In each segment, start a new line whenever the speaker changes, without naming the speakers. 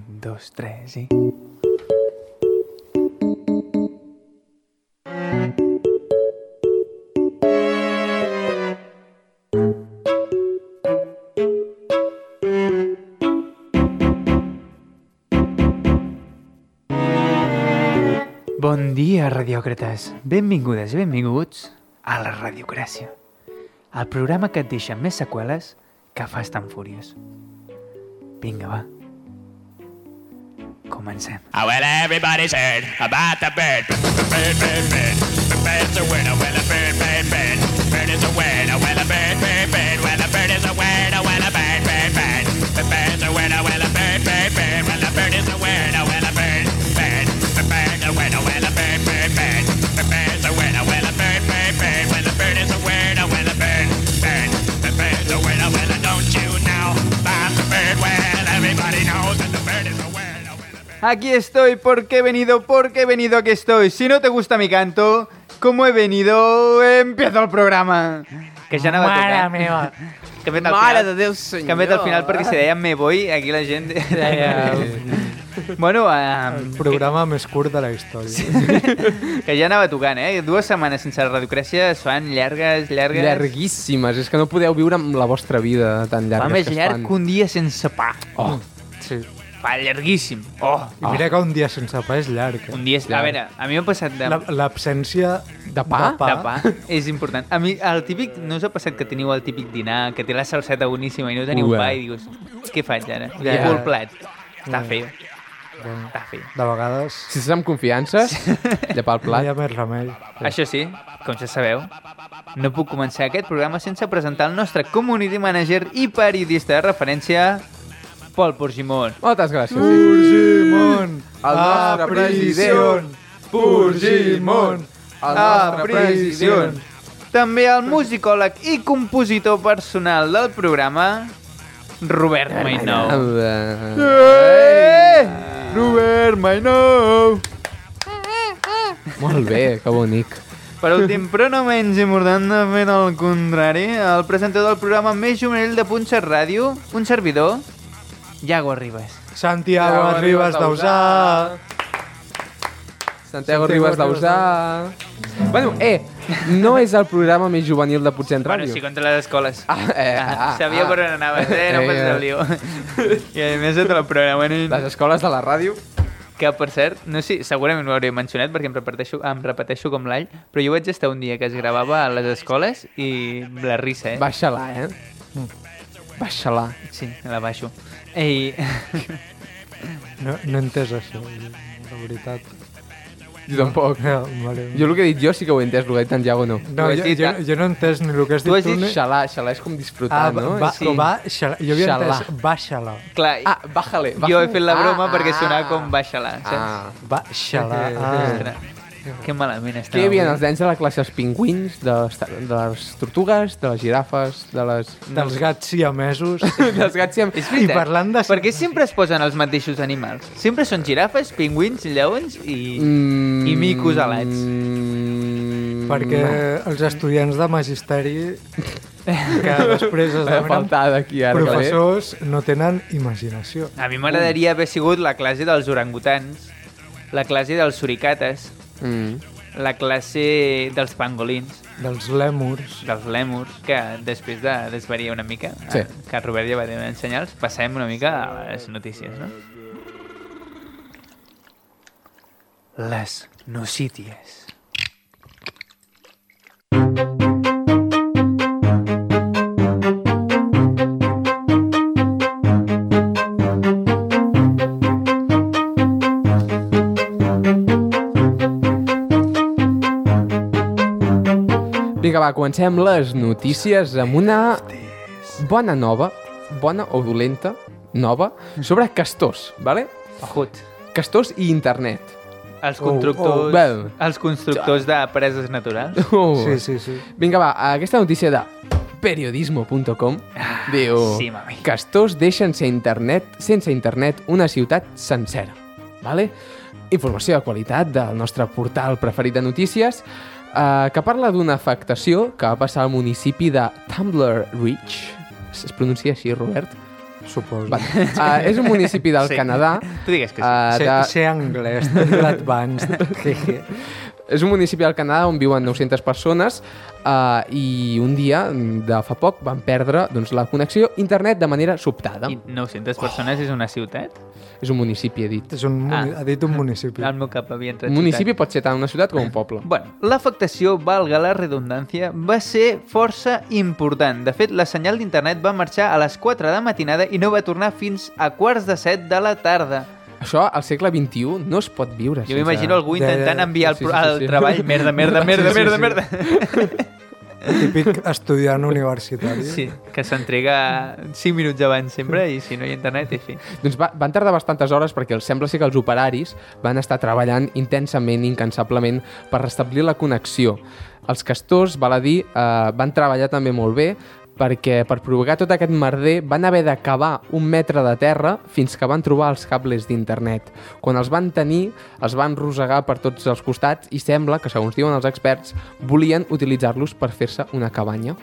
dos, tres i... Bon dia, radiòcrates. Benvingudes i benvinguts a la Radiocràcia, el programa que et deixa més seqüeles que fas tan fúries. Vinga, va. Comencem.
Oh, well, everybody's heard about the bird. Bird, bird, bird. The bird's a word. Oh, well, a bird, bird, bird. Bird is a word. Oh, well, a bird, bird, bird. Well, a bird is a word. Oh, well, a bird, bird, bird. The bird's a word. Oh, well, a bird, bird, bird. Well, a bird is a word. Oh, well, a bird, bird. The bird's a word. Oh, well, a bird, bird, bird. The bird's a word. Oh, well, a bird, bird, bird. Well, a bird is a word. Oh, well, a bird, bird. The bird's a word. Oh, well, don't you know about the bird? Well, everybody knows that the bird is a word. Oh, well, a bird.
Aquí estoy, porque he venido, porque he venido, aquí estoy. Si no te gusta mi canto, como he venido, empiezo el programa. Que ja anava
Mare
tocant.
meva.
Que hem fet al
Mare
final.
de Déu, senyor.
Que hem fet al final perquè si deia me voy, aquí la gent...
Deia,
bueno, um,
Programa més curt de la història. Sí,
que ja anava tocant, eh? Dues setmanes sense la radiocràcia es fan llargues, llargues...
Llarguíssimes, és que no podeu viure amb la vostra vida tan
Fa
llarga
més
que es
llarg
fan.
que un dia sense pa.
Oh,
Sí. Fa llarguíssim. Oh,
I mira que un dia sense pa és llarg. eh?
un dia... és- A
Llarg.
veure, a mi m'ha passat de...
La- L'absència
De pa?
de pa,
De pa és important. A mi, el típic, no us ha passat que teniu el típic dinar, que té la salseta boníssima i no teniu
Ué.
pa i dius, què faig ara?
Ja.
Yeah. el plat. Està feo. Està feo.
de vegades
si estàs amb confiança, llepar el
no
plat.
hi ha més remei.
Això sí, com ja sabeu, no puc començar aquest programa sense presentar el nostre community manager i periodista de referència, Pol Porgimon.
Moltes gràcies.
Purgimon,
El nostre president.
Purgimon,
El
Ah,
També el musicòleg i compositor personal del programa, Robert Mainou.
eh,
Eh,
Eh!
Robert Mainou.
Molt bé, que bonic.
Per últim, però no menys important, de fet el contrari, el presentador del programa més juvenil de Punxes Ràdio, un servidor, Iago Ribas.
Santiago Arribas d'Ausà.
Santiago Ribas d'Ausà. Bueno, eh, no és el programa més juvenil de Puigdent
Bueno, sí,
Ràdio.
contra les escoles.
Ah, eh, ah,
Sabia
ah.
per on anaves, eh? No
Eh,
passis el lío. I a més et el programa...
Les escoles de la ràdio.
Que, per cert, no sé, segurament m'ho hauré mencionat perquè em repeteixo, em repeteixo com l'all, però jo vaig estar un dia que es gravava a les escoles i la risa, eh?
Baixa-la, eh? Baixa-la.
Sí, la baixo. I...
No, no he entès això, la veritat.
Jo tampoc.
No, vale.
Jo el que he dit jo sí que ho he entès, el que ha dit en Iago no.
no,
ho has
jo,
dit,
jo,
eh?
jo no he entès ni el que has
Tu
dit
has
tu,
dit
ni...
Xalà, xalà és com disfrutar,
Ah,
no?
va,
És-
sí.
va, xala. Jo havia
Xalà.
entès, baixa-la.
Clar,
Ah, bájale.
jo
bájale.
he fet la broma
Ah,
perquè sonava
ah,
com baixa-la, saps?
Ah.
Baixa-la. Ah.
Ostres, que malament estava.
Què hi havia
avui.
els nens de la classe? Els pingüins, de les, ta- de les tortugues, de les girafes, de les...
Dels gats siamesos.
dels gats... i amb-
És veritat.
I parlant de-
Per què sempre es posen els mateixos animals? Sempre són girafes, pingüins, lleons i...
Mm,
I micos alats.
Mm,
perquè els estudiants de magisteri que després es
Vaya
demanen
faltada aquí ara. que ve.
professors no tenen imaginació.
A mi m'agradaria haver sigut la classe dels orangutans, la classe dels suricates,
Mm.
la classe dels pangolins,
Dels lèmurs.
dels lèmurs, que després de desvariar una mica,
Sí.
eh, que Robert ja va ensenyar, els passem una mica a les notícies, no? Les nocíties.
Vinga, va, comencem les notícies amb una bona nova, bona o dolenta, nova, sobre castors, vale?
Ojut.
Castors i internet.
Els constructors,
oh, well.
els constructors de preses naturals.
Oh.
Sí, sí, sí.
Vinga, va, aquesta notícia de periodismo.com diu
Ah, sí, mami.
Castors deixen sense internet, sense internet una ciutat sencera. Vale? Informació de qualitat del nostre portal preferit de notícies eh, que parla d'una afectació que va passar al municipi de Tumblr Ridge. Es es pronuncia així, Robert?
suposo.
Vale. Uh, és un municipi del
Sí.
Canadà.
Tu digues que sí.
eh,
Sé,
de-
sé anglès, tenc l'advanced. Jeje.
És un municipi del Canadà on viuen 900 persones eh, i un dia, de fa poc, van perdre doncs, la connexió a internet de manera sobtada.
I 900 persones és una ciutat?
És un municipi, he dit.
És un, muni-
Ah.
ha dit un municipi.
Al meu cap havia entrat
Un Oh. municipi
ciutat.
pot ser tant una ciutat com un poble.
Bueno, l'afectació, valga la redundància, va ser força important. De fet, la senyal d'internet va marxar a les 4 de matinada i no va tornar fins a quarts de 7 de la tarda.
Això al segle XXI no es pot viure.
Jo m'imagino algú
Ja, ja,
intentant
ja.
enviar el,
Sí,
pro-
sí, sí,
el
sí.
treball merda, merda, merda,
Sí, sí,
merda,
sí.
merda.
Típic estudiant universitari.
Sí, que s'entrega 5 minuts abans sempre i si no hi ha internet, i fi.
Doncs va, van tardar bastantes hores perquè els sembla ser que els operaris van estar treballant intensament, incansablement, per restablir la connexió. Els castors, val a dir, eh, van treballar també molt bé perquè per provocar tot aquest merder van haver d'acabar un metre de terra fins que van trobar els cables d'internet. Quan els van tenir, els van rosegar per tots els costats i sembla que, segons diuen els experts, volien utilitzar-los per fer-se una cabanya.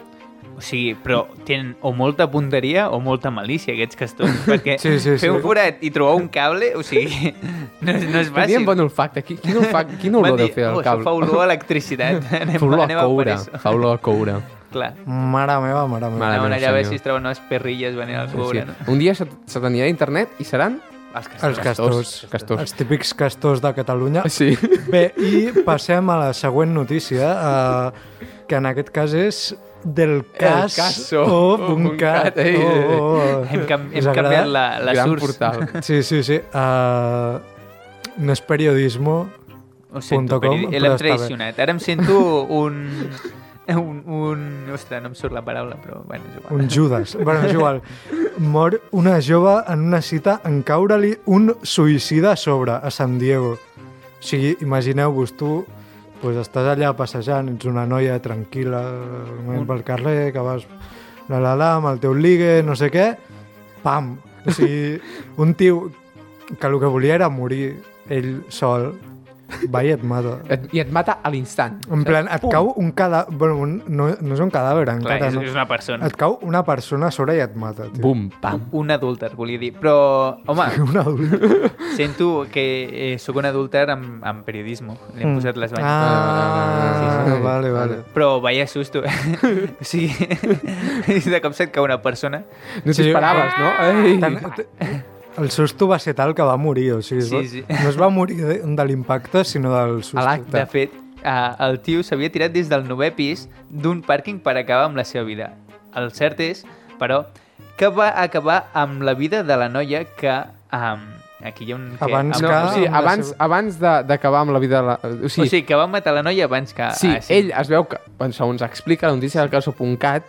O sigui, però tenen o molta punteria o molta malícia aquests castors, perquè
Sí, sí,
fer un
sí.
forat i trobar un cable, o sigui, no, és- no és fàcil.
Tenien bon olfacte. Qui- Quin, olfac, quin olor deu fer el
oh, cable.
cable?
Això fa olor a electricitat. anem,
Fa olor a
anem a
coure,
París.
fa olor a coure.
Clar.
Mare meva, mare meva.
Mare
Mare
meva,
allà a veure
senyor.
si es troben unes perrilles venint al
Sí,
coure. Ah,
sí. Un dia se, se t'anirà a internet i seran...
No? Els castors.
Els castors.
Castors.
Els típics castors de Catalunya.
Ah, Sí.
Bé, i passem a la següent notícia, eh, que en aquest cas és del cas
caso.
o
Un cat,
buncat.
ei,
Oh,
ei, ei.
oh, oh.
eh. Hem, cam
Us
hem
agrada?
canviat la, la
Gran
source.
portal.
Sí, sí, sí. eh, no és periodismo,
Ho sento,
Punto com,
com,
però
l'hem
està bé.
traicionat. Ara em sento un... Un, un... Ostres, no em surt la paraula, però bueno, és igual.
un Judas. bueno, és igual. Mor una jove en una cita en caure-li un suïcida a sobre, a San Diego. O sigui, imagineu-vos tu pues, estàs allà passejant, ets una noia tranquil·la un... pel carrer, que vas la la la amb el teu ligue, no sé què, pam! O sigui, un tio que el que volia era morir ell sol, va i et mata.
Et, I et mata a l'instant.
En plan, et cau un cadàver... Bueno, un, no, no és un cadàver
Clar,
encara,
és,
no?
és una persona.
Et cau una persona a sobre i et mata, tio.
Bum, pam.
Un adúlter, volia dir. Però, home,
Un adult.
sento que eh, sóc un adúlter amb, amb periodismo. Li hem posat les banyes.
Mm. Ah,
Sí, sí, sí.
vale, vale.
Però vaya susto. eh. o sigui, de cop se't cau una persona.
No
Sí. Ah,
t'esperaves, no? Ei.
Tan, el susto va ser tal que va morir, o sigui, es va-
Sí, sí.
no es va morir de, de l'impacte, sinó del susto.
A l'acte.
De fet, eh, el tio s'havia tirat des del novè pis d'un pàrquing per acabar amb la seva vida. El cert és, però, que va acabar amb la vida de la noia que... Um, aquí hi ha un...
Abans
que,
No,
que-
o sigui,
amb la
abans,
seva-
abans de- d'acabar amb la vida... de La... O
ah, Sí. O
sigui,
sigui, que va matar la noia abans que...
Sí, ah, sí, ell es veu que, bueno, segons explica la notícia del caso.cat,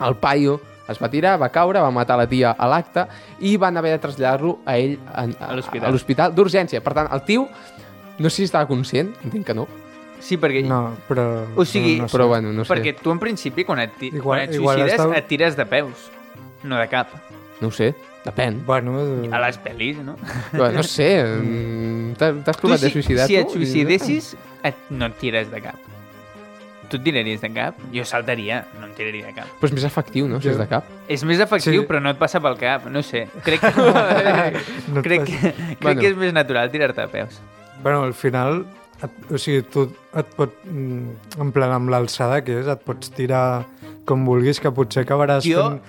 el paio es va tirar, va caure, va matar la tia a l'acte i van haver de traslladar-lo a ell en,
A l'hospital.
a l'hospital d'urgència. Per tant, el tio, no sé si estava conscient, entenc que no,
Sí, perquè...
No, però...
O sigui,
no, no sé.
però bueno, no sé.
perquè tu, en principi, quan et, ti-
Igual-
quan et
igual
suïcides,
estava-
et tires de peus, no de cap.
No ho sé, depèn.
Bueno,
A les pel·lis, no?
Però, no sé, mm, t'ha- t'has provat de
si,
suïcidar
si
tu?
et suïcidessis, et, no et tires de cap. Tu et tiraries de cap? Jo saltaria, no em tiraria de cap.
Però és més efectiu, no?, si és de cap.
És més efectiu,
Sí.
sí. però no et passa pel cap, no sé. Crec que, no
No et
crec, que,
passa.
crec
Bueno.
que és més natural tirar-te a peus.
bueno, al final, et, o sigui, tu et pot... mm, En plan, amb l'alçada que és, et pots tirar com vulguis, que potser acabaràs
Jo-
fent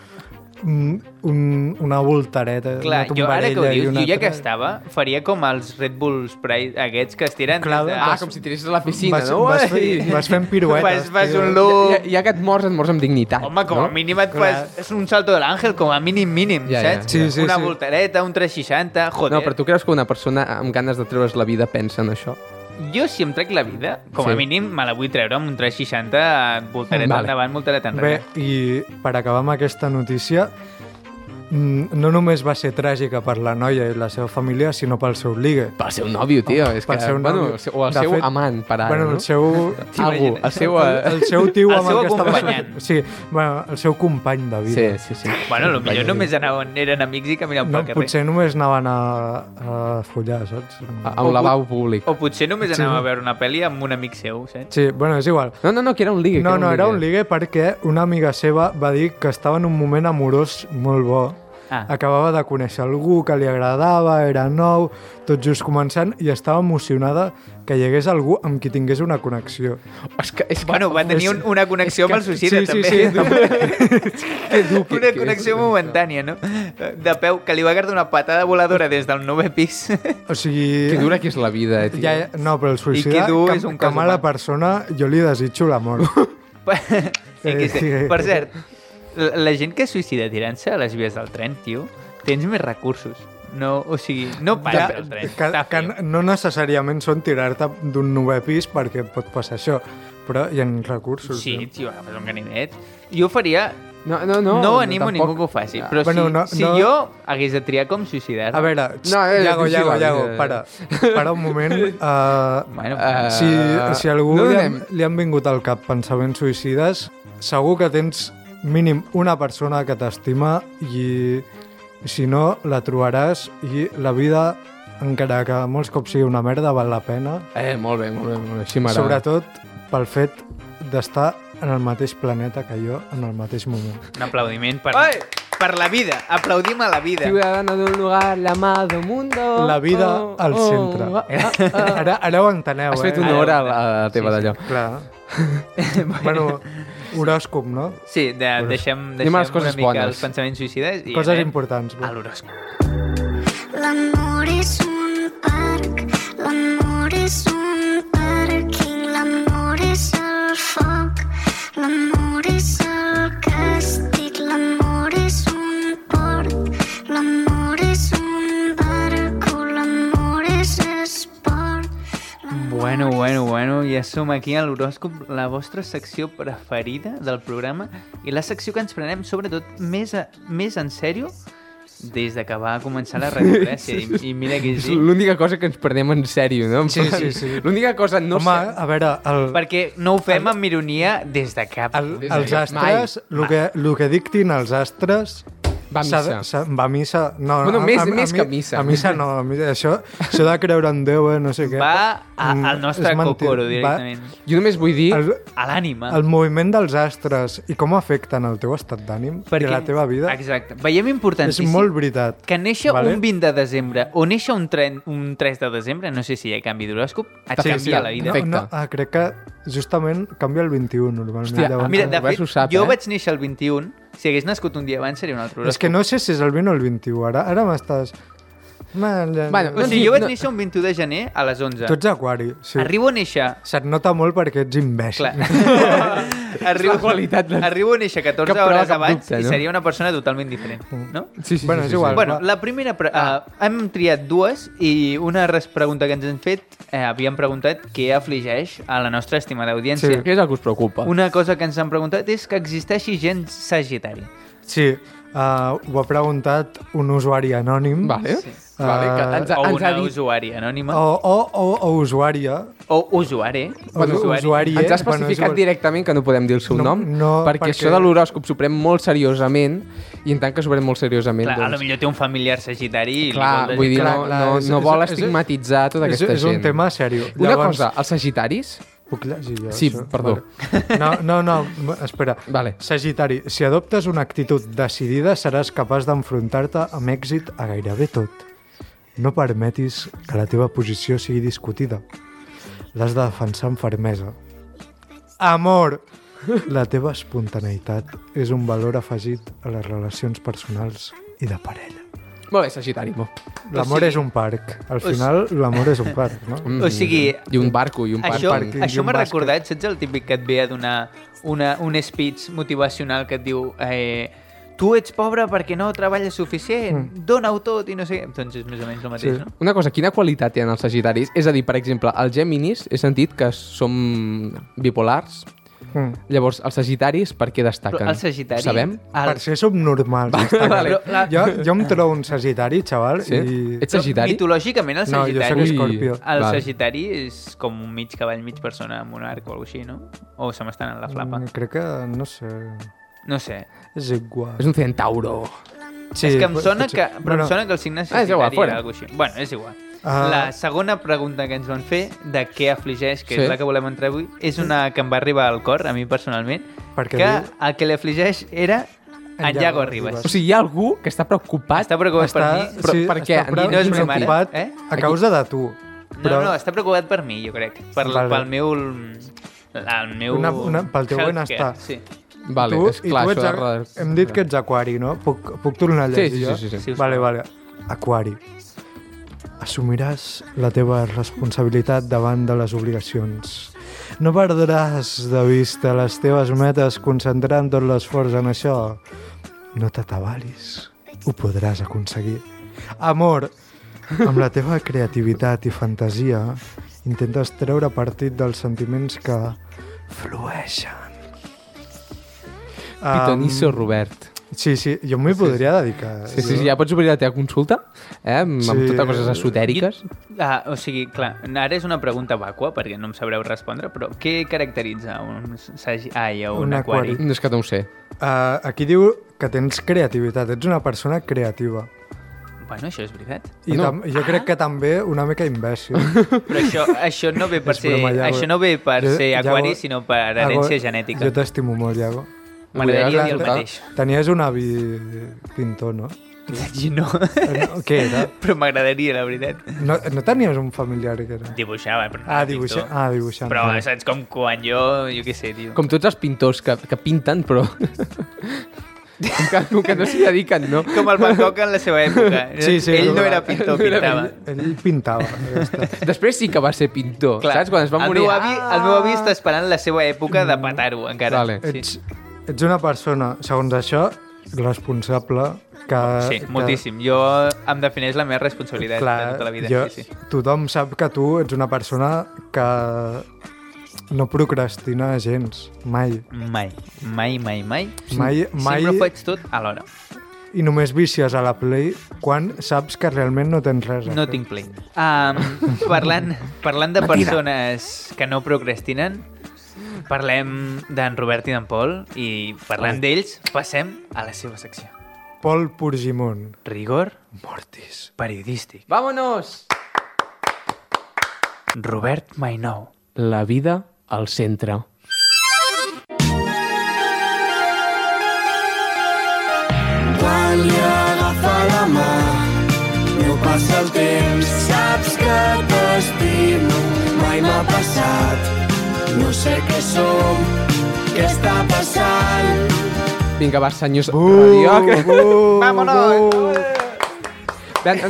un, un, una voltareta,
Clar,
una
jo ara que ho
tombarella i
dius,
una
jo ja que
altra.
estava, faria com els Red Bulls Pride aquests que es tiren
Clar,
des de...
Ah, com si tiressis a la piscina,
vas,
no? Ai!
vas, fent, vas fent piruetes.
Vas, vas
tio.
un loop...
Ja, ja que et mors, et mors amb dignitat.
Home, com a
no?
mínim et
Clar.
fas... És un salto de l'àngel, com a mínim mínim,
Ja, ja,
saps?
ja. Sí, sí,
Una
sí.
voltereta, un 360, joder.
No, però tu creus que una persona amb ganes de treure's la vida pensa en això?
Jo, si em trec la vida, com a
Sí.
mínim me la vull treure amb un 360, voltereta
Vale.
vale. endavant, voltereta enrere.
Bé, i per acabar amb aquesta notícia, mm, no només va ser tràgica per la noia i la seva família, sinó pel seu ligue.
Pel seu nòvio, tio. és que,
Pel seu
bueno,
nòvio.
el seu- o el
De
seu
fet-
amant, per ara,
bueno,
no?
el seu...
Algú, el seu...
El,
Eh...
el seu tio
El
amb
seu
el que estava...
acompanyant.
Sí, bueno, el seu company de vida.
Sí, sí, sí.
Bueno, potser només anaven, eren amics i caminaven
No,
pel carrer.
potser només anaven a, a follar, saps?
A, a un lavabo públic.
O potser només
Sí.
anava a veure una pel·li amb un amic seu, saps?
Sí, bueno, és igual.
No, no, no, que era un ligue.
No,
que
no, era un ligue perquè una amiga seva va dir que estava en un moment amorós molt bo
Ah.
Acabava de conèixer algú que li agradava, era nou, tot just començant, i estava emocionada que hi hagués algú amb qui tingués una connexió.
És que, és que,
Bueno, va tenir un, una connexió amb el suïcida,
sí, sí,
també.
que dur, que-
Una
que-
connexió momentània, no? De peu, que li va agafar una patada voladora des del novè pis.
O sigui...
Que dura que és la vida, eh, tio.
Ja, ja- no, però el suïcida,
qui dur
que,
és un
que
cas
mala
humà.
persona, jo li desitjo la mort.
Sí, que sí.
Sí.
Per cert, la la gent que es suïcida tirant-se a les vies del tren, tio, tens més recursos. No, o sigui, no pares el tren.
que,
Està
que
feo.
no necessàriament són tirar-te d'un novè pis perquè et pot passar això, però hi ha recursos. eh?
Sí,
no?
tio, agafes un ganivet. Jo faria...
No, no, no.
No, no animo tampoc... Ah.
tampoc.
ningú que ho faci, però
Bueno,
si,
no-
si
no-
jo hagués de triar com suïcidar...
A veure,
No, eh,
Iago,
és
Iago,
igual,
Iago,
eh.
para, para un moment. Uh,
Bueno,
Eh,
si, si a algú
no
li, han,
anem.
li han vingut al cap pensaments suïcides, segur que tens mínim una persona que t'estima i si no, la trobaràs i la vida, encara que molts cops sigui una merda, val la pena.
Eh, molt bé, molt bé, molt bé. Així m'agrada.
Sobretot pel fet d'estar en el mateix planeta que jo en el mateix moment.
un aplaudiment per,
Ai!
per la vida. Aplaudim a la vida.
Ciudadano de un lugar, la mà del mundo.
La vida
Oh,
al centre.
Ah,
Ara, ara ho enteneu,
Has
eh?
fet una hora a la, a la teva d'allò.
Clar. bueno, horòscop, no?
Sí, de, deixem,
Anem
deixem
a les coses
una mica
bones.
els pensaments suïcides i
eh?
Coses
anem
importants.
a
va.
l'horòscop.
L'amor és un parc, l'amor és un pàrquing, l'amor és el foc, l'amor és el càstig, l'amor és un port, l'amor és un barco, l'amor és esport.
Bueno, bueno, bueno, ja som aquí a l'horòscop, la vostra secció preferida del programa i la secció que ens prenem sobretot més, a, més en sèrio des de que va començar la radiogràcia. I, I mira que
És
sí.
l'única cosa que ens prenem en sèrio, no?
Sí, sí, sí.
L'única cosa... No
Home,
sé...
a veure, el,
Perquè no ho fem amb ironia des de cap.
el,
Des
els
d'aquest-
astres, el que, lo que dictin els astres...
Va a
s'ha de-
missa.
s'ha- Va a missa. No,
Bueno,
a-
més-
a- a
més
mi-
que missa.
A missa no, a mi, això, això de creure en Déu, eh, no sé què.
Va a,
Mm,
al nostre
és mentida.
cocoro
Va-
directament.
Jo només vull dir...
El,
A l'ànima.
El moviment dels astres i com afecten el teu estat d'ànim i la teva vida
Exacte. Veiem
és
importantíssim
molt veritat.
que néixer
Vale.
vale. un 20 de desembre o néixer un, 30, un 3 de desembre, no sé si hi ha canvi d'horòscop, et
Sí,
canvia
sí,
la vida.
No,
Perfecte.
no, ah, crec que justament canvia el 21 normalment.
Hòstia,
llavors.
Mira, de
El
fet,
Robert ho sap,
jo
eh?
vaig néixer el 21, si hagués nascut un dia abans seria un altre
Ah. és
horòscop.
que no sé si és el 20 o el 21, ara, ara m'estàs... Doncs
Bueno,
O
no
sigui,
tinc-
jo vaig
no-
néixer un 21 de gener a les 11.
Tu ets aquari, sí.
Arribo a néixer...
Se't nota molt perquè ets imbècil.
Clar. arribo,
la qualitat de-
arribo a néixer 14
Cap prova,
hores
cap
abans
dubte,
i
no?
seria una persona totalment diferent, no?
Sí, sí,
Bueno,
sí,
és
sí,
igual.
Sí.
Bueno,
va.
la primera... Pre
Ah.
uh, hem triat dues i una res pregunta que ens han fet eh, havíem preguntat què afligeix a la nostra estimada audiència.
Què és el que us preocupa?
Una cosa que ens han preguntat és que existeixi gent sagitari.
Sí, uh, ho ha preguntat un usuari anònim.
Vale.
Sí.
vale que
Ah,
ens,
O
ens ha
una
dit...
usuària anònima.
O, o, o, o usuària.
Oh. O usuari.
Bueno, usuari.
Ens
eh?
ha
Bueno, és
especificat
igual.
directament que no podem dir el seu
No,
nom,
no,
perquè,
perquè-
això de l'horòscop s'ho pren molt seriosament, i en tant que s'ho pren molt seriosament,
Clar, a lo
doncs...
millor té un familiar sagitari i
Clar,
li vol
vull dir,
clar,
no,
clar,
no,
és-
no
és-
vol
és-
estigmatitzar tota
és,
aquesta
és
gent.
un tema seriós.
Una cosa, els sagitaris...
Puc llegir jo?
Sí,
això?
perdó.
Vale. No, no, no, m- espera.
Vale.
Sagitari, si adoptes una actitud decidida, seràs capaç d'enfrontar-te amb èxit a gairebé tot. No permetis que la teva posició sigui discutida. L'has de defensar amb fermesa. Amor! La teva espontaneïtat és un valor afegit a les relacions personals i de parella.
Molt bé, sagitari, bo.
L'amor és un parc. Al final, l'amor és un parc, no?
Mm,
O sigui,
I
Eh,
un barco, i un parc.
Això,
pàrquing i
això
un
m'ha
bàsquet.
recordat, saps el típic que et ve a donar una, un speech motivacional que et diu eh, tu ets pobre perquè no treballes suficient, mm. dona-ho tot i no sé què. Doncs és més o menys el mateix,
Sí.
sí. no?
Una cosa, quina qualitat tenen els sagitaris? És a dir, per exemple, els gèminis he sentit que som bipolars,
Mm.
llavors els sagitaris per què destaquen?
Però el sagitari...
Sabem?
El...
Per ser subnormal. vale.
Però la-
jo, jo em trobo un sagitari, xaval,
Sí?
i...
Ets sagitari?
Mitològicament el
No, jo
sagitari...
sóc
Ui,
escorpió.
El
val.
sagitari és com un mig cavall, mig persona amb un arc o alguna així, no? O se m'estan en la flapa.
Mm, Crec que, no sé,
No sé.
és igual.
És un centauro.
Sí,
és que em
pot-
sona
potser.
que, però
Bueno,
em sona que el signe
Ah, és igual,
sagitari
fora.
era alguna així. Bueno, és igual.
Ah.
La segona pregunta que ens van fer de què afligeix, que sí.
Sí.
és la que volem entrar avui, és una que em va arribar al cor, a mi personalment,
Per
que
què diu?
el que li afligeix era En Iago Ribas.
O sigui, hi ha algú que està preocupat
Està preocupat
Està,
per mi?
Però
sí,
per què?
Està pre-
I no és bromari,
preocupat
eh?
a causa de tu.
No, no, està preocupat per mi, jo crec. Per,
Vale.
Pel meu... El meu...
Una- una- pel teu
healthcare,
benestar.
Sí.
Vale,
tu,
és clar,
i
això...
tu ets,
de
a...
re-
hem dit que ets aquari, no? Puc, puc tornar a llegir
sí,
jo?
sí, sí, sí.
Sí, us
Vale, vale. Aquari. Assumiràs la teva responsabilitat davant de les obligacions. No perdràs de vista les teves metes concentrant tot l'esforç en això. No t'atabalis. Ho podràs aconseguir. Amor, amb la teva creativitat i fantasia intentes treure partit dels sentiments que flueixen.
Pitonisso
Em,
Robert.
Sí, sí, jo m'hi podria dedicar. eh?
Sí, sí, sí, ja pots obrir la teva consulta, eh? Amb, amb
Sí.
totes coses esotèriques.
Ah, o sigui, clar, ara és una pregunta vàcua, perquè no em sabreu respondre, però què caracteritza un sagi... Ai, a un,
Un
un aquari?
aquari.
aquari?
No és que no ho sé.
Uh, aquí diu que tens creativitat, ets una persona creativa.
Bueno, això és veritat.
I
Ah, No.
no. jo
Ah.
crec que també una mica imbècil.
Però això, això no ve per
És
ser,
broma, Iago.
això no ve per
Jo-
ser
Iago-
aquari, sinó per herència
Iago,
genètica.
Jo t'estimo molt, Iago.
M'agradaria
Volia
dir el
escoltar.
mateix.
Tenies un avi pintor, no?
No,
Eh, no, Què era?
però m'agradaria, la veritat.
No, no tenies un familiar que era?
Dibuixava, però no
Ah,
era
dibuixant.
pintor.
Ah, dibuixant.
Però
vale.
saps com quan jo, jo què sé, tio.
Com tots els pintors que, que pinten, però... com, que, com que no s'hi dediquen, no?
Com el Van Gogh en la seva època.
Sí, sí,
Ell no
clar.
era pintor,
No era
pintava.
Ell pintava. Ja està.
Després sí que va ser pintor,
Clar,
saps? Quan es va
El
morir... Ah,
meu avi, el meu avi està esperant la seva època de petar-ho, encara.
Vale.
Ets, ets una persona, segons això, responsable que...
Sí,
eh, que-
moltíssim. Jo em defineix la meva responsabilitat Clar, de tota la vida.
Jo,
Sí, sí.
tothom sap que tu ets una persona que no procrastina gens, mai.
Mai, mai, mai, mai.
Mai, mai,
Sempre ho faig tot a l'hora.
i només vicies a la Play quan saps que realment no tens res a
No
fer.
tinc play. Um, parlant, parlant de persones que no procrastinen, parlem d'en Robert i d'en Pol i parlant d'ells passem a la seva secció.
Pol Purgimon,
Rigor
Mortis.
periodístic.
Vámonos!
Robert Mainou.
La vida al centre.
Quan li agafa la mà, no passa el temps, saps que t'estimo. Mai m'ha passat, no sé què som, què està passant.
Vinga, va, senyors uh,
Uh, uh,
Vámonos!
An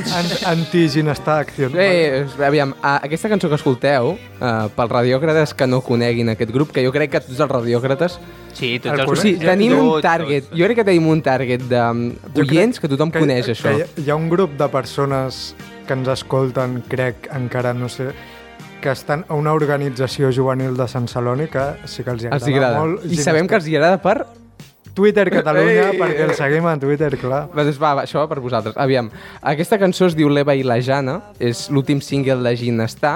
Anti-ginestà acció.
Eh, aviam, a- aquesta cançó que escolteu, eh, pels radiòcrates que no coneguin aquest grup, que jo crec que tots els radiòcrates...
Sí, tots
El
els
Correcte.
O sigui,
coneixem.
tenim un
Tots,
target,
tots.
jo crec que tenim un target d'oients que tothom coneix, això.
Que hi- hi ha un grup de persones que ens escolten, crec, encara no sé, que estan a una organització juvenil de Sant Celoni que sí que els hi agrada,
Els hi agrada.
molt.
I sabem que els hi agrada per...
Twitter Catalunya,
Ei!
perquè el seguim a Twitter, clar.
Va, Doncs va, va, això va per vosaltres. Aviam, aquesta cançó es diu L'Eva i la Jana, és l'últim single de Ginestà,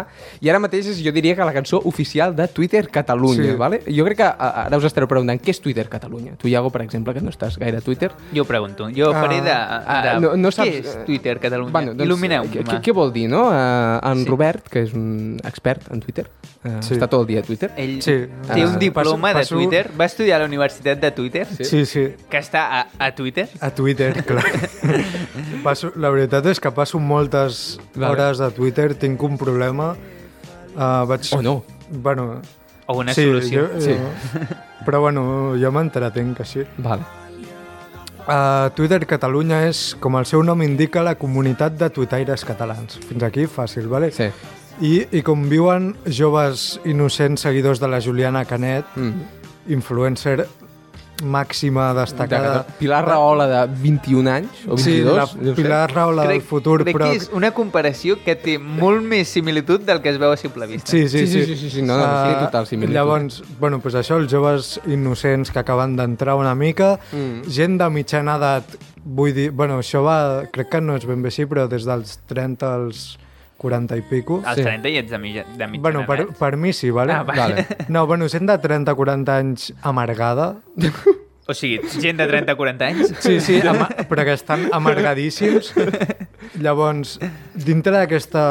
i ara mateix és, jo diria que la cançó oficial de Twitter Catalunya,
Sí.
vale? Jo crec que a- ara us estareu preguntant què és Twitter Catalunya. Tu, Iago, per exemple, que no estàs gaire a Twitter,
Jo ho pregunto. Jo
Ah,
faré de... de
Ah, no, no saps...
Què és
eh,
Twitter Catalunya?
Bueno, doncs,
Il·lumineu-me.
Què, què- què vol dir, no? Uh, en
Sí.
sí. Robert, que és un expert en Twitter, uh,
Sí.
sí. està tot el dia a Twitter.
Ell
Sí.
té un
Ah,
diploma
passo-
de
passo-
Twitter, va estudiar a la Universitat de Twitter,
Sí, sí,
que està a, a Twitter.
a Twitter, clar. passo, la veritat és que passo moltes
Vale.
hores a Twitter, tinc un problema. Uh, vaig...
O no.
Bueno,
O una sí, solució.
Jo,
Sí.
sí. Però bueno, jo m'entretenc així.
Vale.
Uh, Twitter Catalunya és, com el seu nom indica, la comunitat de tuitaires catalans. Fins aquí fàcil, vale?
Sí.
I, I conviuen joves innocents seguidors de la Juliana Canet, mm. influencer màxima destacada.
Pilar Rahola de 21 anys, o 22,
sí, la
deu ser.
Pilar Rahola del futur,
crec
però...
que és una comparació que té molt més similitud del que es veu a simple vista.
Sí,
Sí,
sí,
sí,
sí.
sí, sí, sí, no, no,
Ah,
sí, total similitud.
Llavors, bueno, doncs això, els joves innocents que acaben d'entrar una mica, mm. gent de mitjana edat, vull dir, bueno, això va, crec que no és ben bé així, però des dels 30 als 40 i pico.
Als 30 i ets de mitja, de mitjana eh?
Bueno, per,
edat.
per mi sí, vale?
Ah, va.
Vale.
No, bueno, gent de 30-40 anys amargada,
O sigui, gent de 30-40 anys.
Sí, sí, ama però que estan amargadíssims. Llavors, dintre d'aquesta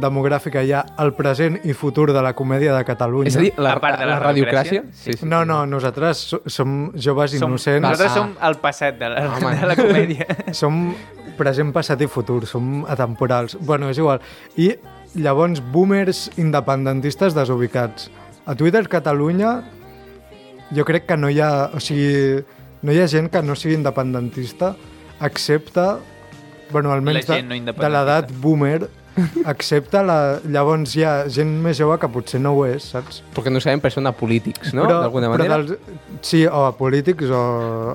demogràfica hi ha el present i futur de la comèdia de Catalunya.
És a dir, la,
A part de la
radiocràcia?
radiocràcia?
Sí, sí.
No, no, nosaltres so- som joves
Som,
innocents,
nosaltres
Ah.
som el passat de la,
Home.
de la comèdia.
som present, passat i futur, som atemporals. Bueno, és igual. I llavors, boomers independentistes desubicats. A Twitter Catalunya jo crec que no hi ha... O sigui, no hi ha gent que no sigui independentista, excepte... Bueno, almenys
La
de,
gent no
de l'edat
independentista.
boomer, excepte la... Llavors hi ha gent més jove que potser no ho és, saps?
Perquè no sabem persona polítics, no? D'alguna manera.
Però dels, sí, o a polítics o,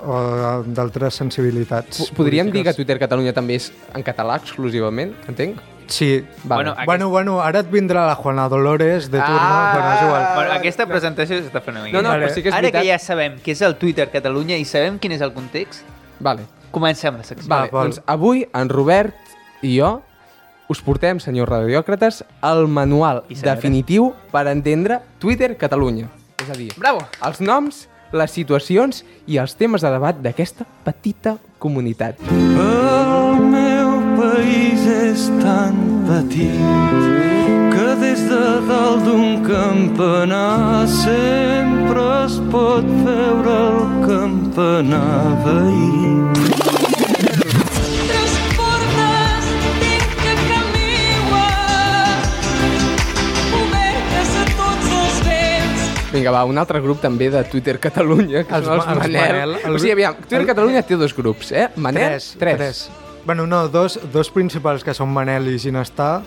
o d'altres sensibilitats.
Po- Podríem dir que
polítiques.
Twitter Catalunya també és en català exclusivament, entenc?
Sí.
Bueno,
Vale.
Aquest-
Bueno, bueno, ara et vindrà la Juana Dolores de turno,
Ah!
ah, però és igual.
Bueno, aquesta presentació s'està fent una mica.
No, no, però sí que és
Ara
veritat.
que ja sabem què és el Twitter Catalunya i sabem quin és el context,
Vale.
comencem la secció.
Vale,
val.
doncs avui en Robert i jo us portem, senyors radiòcrates, el manual
I senyores.
definitiu per entendre Twitter Catalunya. És a dir,
Bravo!
els noms, les situacions i els temes de debat d'aquesta petita comunitat.
El meu país és tan petit que des de dalt d'un campanar sempre es pot veure el campanar veí.
Tres formes tinc que caminen, obertes a tots els vents.
Vinga, va, un altre grup també de Twitter Catalunya, que
Els
són els
ma- els
Manel.
Manel, el-
O sigui, aviam, Twitter
el-
Catalunya té dos grups, eh? Manel,
Tres, tres. tres. Bueno, no, dos, dos principals que són Manel i Ginestà,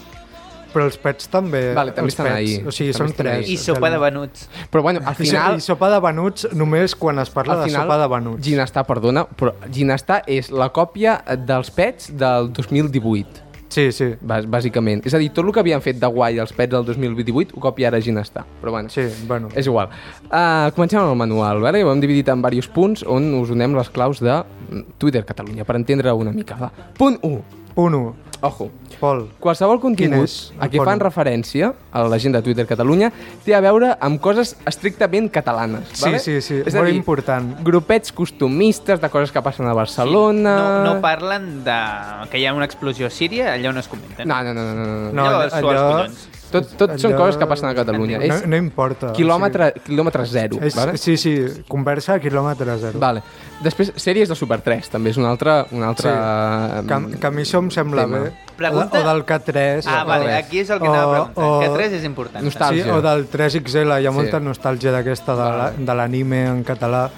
però els pets també.
Vale, també
els
estan
pets.
ahí.
O sigui,
També
són
estan
tres.
ahí.
I sopa de venuts.
Però bueno, al
I so-
final...
I sopa de venuts només quan es parla
Al
de
final,
sopa de venuts.
Ginestar, perdona, però Ginestar és la còpia dels pets del 2018,
Sí, sí.
bàs- bàsicament. És a dir, tot el que havien fet de guai els pets del 2018 ho copia ara Ginestar, però bueno.
Sí, bueno.
És igual. Uh, comencem amb el manual, vale? ho hem dividit en diversos punts on us donem les claus de Twitter Catalunya, per entendre una mica. Va. Punt 1.
Uno,
Ojo.
Pol.
Qualsevol
Quin
contingut
és?
a què fan
Bueno.
referència a la gent de Twitter Catalunya té a veure amb coses estrictament catalanes.
Sí,
Vale?
sí, sí,
És a
molt
dir,
important.
Grupets costumistes de coses que passen a Barcelona...
No, no parlen de que hi ha una explosió a Síria, allò no es comenten.
no, no, no, no, no, no.
No,
Allò,
allò-
allò... els collons.
Tot, tot són
Allò-
coses que passen a Catalunya.
No,
És
no importa.
quilòmetre, quilòmetre zero,
O sigui, és,
vale?
Sí, sí, conversa a quilòmetre zero.
Vale. Després, sèries de Super 3, també és una altra... Una altra
Sí. Que,
em,
que a mi això em sembla
tema.
bé.
Pregunta-
O del K3.
Ah,
o-
vale,
res.
aquí és el que
Oh,
anava a
O-
preguntar.
o-
Que 3 és important.
Nostàlgia.
Sí, o del 3XL, hi ha molta
Sí.
nostàlgia d'aquesta de la- de l'anime en català.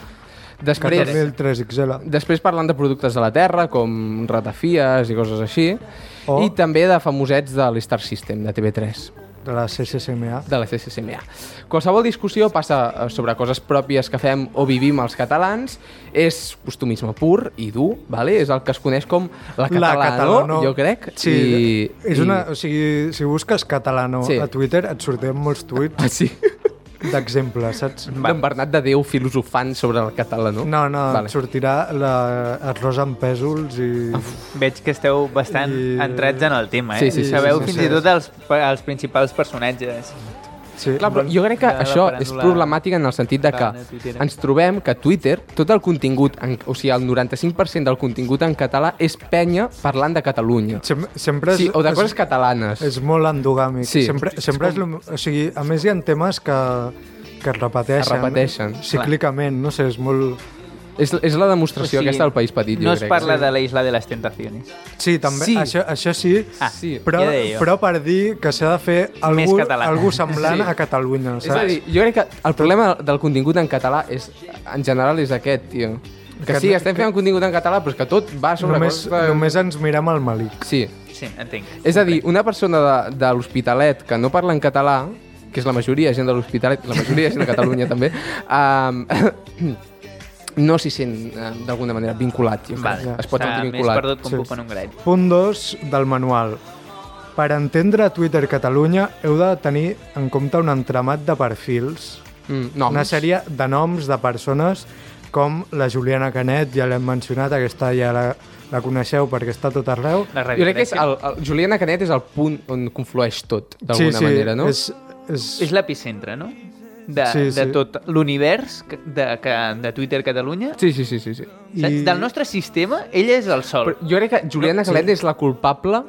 Que
Després,
també el 3XL.
després parlant de productes de la Terra, com ratafies i coses així,
O-
i també de famosets de l'Star System, de TV3.
De la CCCMA.
de la CCCMA. Qualsevol discussió passa eh, sobre coses pròpies que fem o vivim els catalans, és costumisme pur i dur, vale? és el que es coneix com la catalana, jo crec.
Sí,
i,
és
i-
una... O sigui, si busques catalano
Sí.
a Twitter et sortiran molts
Ah,
tuits
sí?
d'exemple, saps?
D'en Bernat de Déu filosofant sobre el català, no?
No, no,
Vale.
et sortirà la, arròs amb pèsols i...
Veig que esteu bastant
I-
entrats en el tema, eh?
Sí, sí, sí,
Sabeu
sí, sí,
fins
sí.
i tot els, els principals personatges.
Sí,
Clar, però jo crec que
de la
això és
paràndula
problemàtic en el sentit de que
catalana tuitera.
ens trobem que a Twitter tot el contingut, en, o sigui, el 95% del contingut en català és penya parlant de Catalunya.
Sem sempre
Sí,
és,
o de coses
és,
catalanes.
és molt endogàmic.
Sí.
Sempre, sempre és, lo- o sigui, a més hi ha temes que, que es repeteixen.
Es repeteixen, clar.
Cíclicament, no sé, és molt...
És, és la demostració o sigui, aquesta del País Petit, jo
no
crec.
es parla de la Isla de les Tentaciones.
Sí, també,
Sí.
sí. Això, això sí,
Ah,
Sí.
però,
ja deia jo.
però per dir que s'ha de fer
Més
algú,
català.
algú semblant
Sí.
sí. a Catalunya,
És a
saps?
dir, jo crec que el problema del contingut en català és, en general és aquest, tio. Que,
Que
sí,
no-
estem fent contingut en català, però és que tot eh, va sobre
només,
coses... de-
només ens mirem al malic.
Sí.
Sí, entenc.
És a dir, una persona de, de l'Hospitalet que no parla en català, que és la majoria de gent de l'Hospitalet, la majoria de gent de Catalunya també, um, no s'hi sent eh, d'alguna manera vinculat. Jo crec.
Vale.
Es pot
Està
sentir
més
vinculat.
perdut com
Sí.
puc en un graet.
Punt 2 del manual. Per entendre Twitter Catalunya heu de tenir en compte un entramat de perfils,
Mm, noms.
una sèrie de noms de persones com la Juliana Canet, ja l'hem mencionat, aquesta ja la, la coneixeu perquè està a tot arreu.
La
Jo crec que és
radiogràcia
el, el Juliana Canet és el punt on conflueix tot, d'alguna manera, no?
És, és,
és l'epicentre, no? de, sí,
Sí,
sí. de
sí.
tot l'univers que- de, que, de Twitter Catalunya.
Sí, sí, sí, sí. sí.
Saps? Del nostre sistema, ella és el sol.
Però jo crec que Juliana Calet és la culpable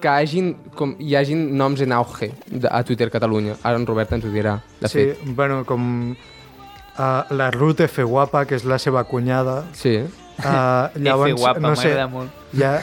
que hagin, com, hi hagin noms en auge de, a Twitter Catalunya. Ara en Robert ens ho dirà, de
sí,
fet.
bueno, com uh, la Ruth F. Guapa, que és la seva cunyada.
Sí.
Uh, llavors,
F guapa,
no sé,
m'agrada molt.
ja,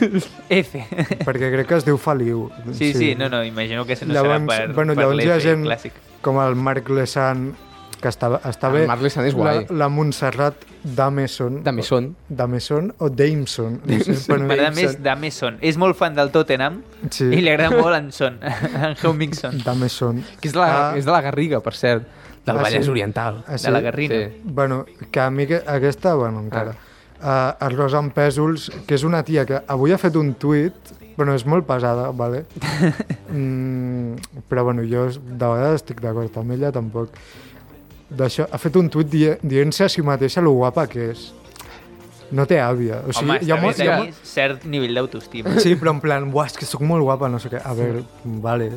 F.
perquè crec que es diu Feliu.
Sí, sí, sí, no, no, imagino que no
llavors,
serà per,
bueno,
per
llavors hi ha
l'F
gent
clàssic.
com el Marc Lesan, que està, està
Ah, El
bé.
Marc Lesan és guai.
La, la Montserrat Dameson.
També són.
Dameson o Dameson. No sé, bueno,
M'agrada més d'Ameson. És molt fan del Tottenham
Sí.
i li agrada molt en Son, en Hummingson,
Dameson.
Que és de la,
Ah.
és de la Garriga, per cert. Del
Ah, sí?
Vallès Oriental.
Ah, sí?
de la Garrina.
Sí.
Bueno, que a mi que- aquesta, bueno, encara. Ah. Uh, Arròs amb pèsols, que és una tia que avui ha fet un tuit, bueno, és molt pesada, vale? mm, però bueno, jo de vegades estic d'acord amb ella, tampoc. D'això, ha fet un tuit di dient-se a si mateixa lo guapa que és. No té àvia. O sigui,
Home,
hi
està
ha
bé
molt- hi ha
tenir cert nivell d'autoestima.
Sí, però en plan, buah, és que sóc molt guapa, no sé què. A veure, vale,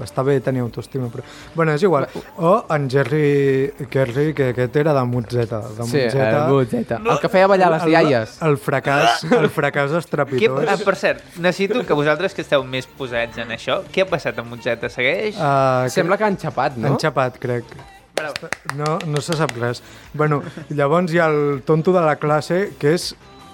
està bé tenir autoestima, però... Bueno, és igual. O en Jerry Kerry, que aquest era de Mutzeta. De
Sí, el
Mutzeta.
Butzeta. El que feia ballar les
El-
iaies.
El, fracàs, el fracàs
Què, ah,
estrepitós.
per cert, necessito que vosaltres que esteu més posats en això, què ha passat amb Mutzeta? Segueix? Ah.
Uh,
Sembla que han xapat, no?
Han xapat, crec.
Bravo.
No, no se sap res. Bueno, llavors hi ha el tonto de la classe, que és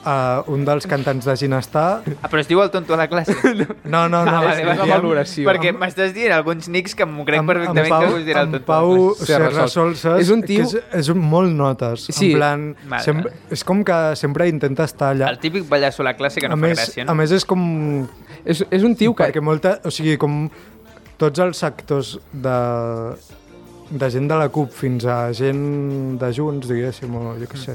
uh, un dels cantants de Ginestar.
ah, però es diu el tonto a la classe.
No, no, no.
Ah, vale,
és-
vale,
diem-
valoració.
Perquè m'estàs dient alguns nics que m'ho crec
En- en
perfectament
Pau-
que us dirà el eh?
en
tonto.
Pau
Serra
Serra
Solsas.
Solsas
És un tio-
que és, és un molt notes.
Sí.
En plan,
Mare.
sempre, és com que sempre intenta estar allà.
El típic pallasso a la classe que no
a,
fa
més,
gràcia.
a
No?
més, és com...
És, és un tio que...
Perquè molta... O sigui, com tots els sectors de de gent de la CUP fins a gent de Junts, diguéssim, o jo què sé.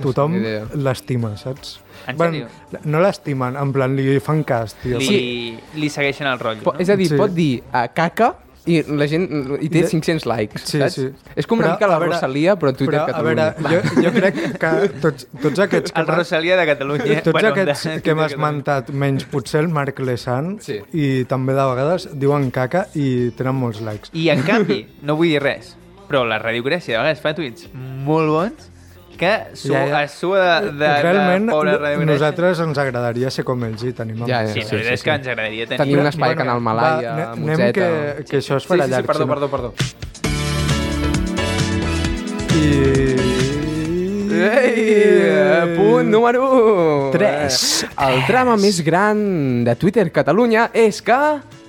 Tothom
ni idea.
l'estima, saps?
Mm. En sèrio?
no l'estimen, en plan, li fan cas, tio.
Li, li segueixen el rotllo,
Po,
no?
és a dir,
Sí.
pot dir uh, caca i la gent i té
I-
500 likes,
Sí,
saps?
sí.
És com una
Però,
mica la
a veure,
Rosalia, però a Twitter
Però, a
Catalunya.
veure, jo, jo crec que tots, tots aquests... que
El
m'han-
Rosalia de Catalunya.
Tots
Bueno,
bueno,
de-
aquests
de
que hem
Catalunya.
esmentat, menys potser el Marc Lesan,
Sí.
sí. i també de vegades diuen caca i tenen molts likes.
I en canvi, no vull dir res, però la Radio Grècia de vegades fa tuits molt bons que su, ja,
Ja,
ja.
ja.
es sua de, de,
Realment,
de pobra Radio Grècia.
nosaltres ens agradaria ser com ells i
Ja,
tenim amb-
ja.
Sí, la
Sí,
veritat
sí,
és que
sí.
ens agradaria tenir...
Tenir un espai bueno, canal Malaya,
va,
va,
anem
Mutzeta...
que, que això es farà
sí, sí,
llarg.
sí, perdó,
si no.
perdó, perdó.
I...
Ei,
eh,
punt número 1.
3.
El drama més gran de Twitter Catalunya és que...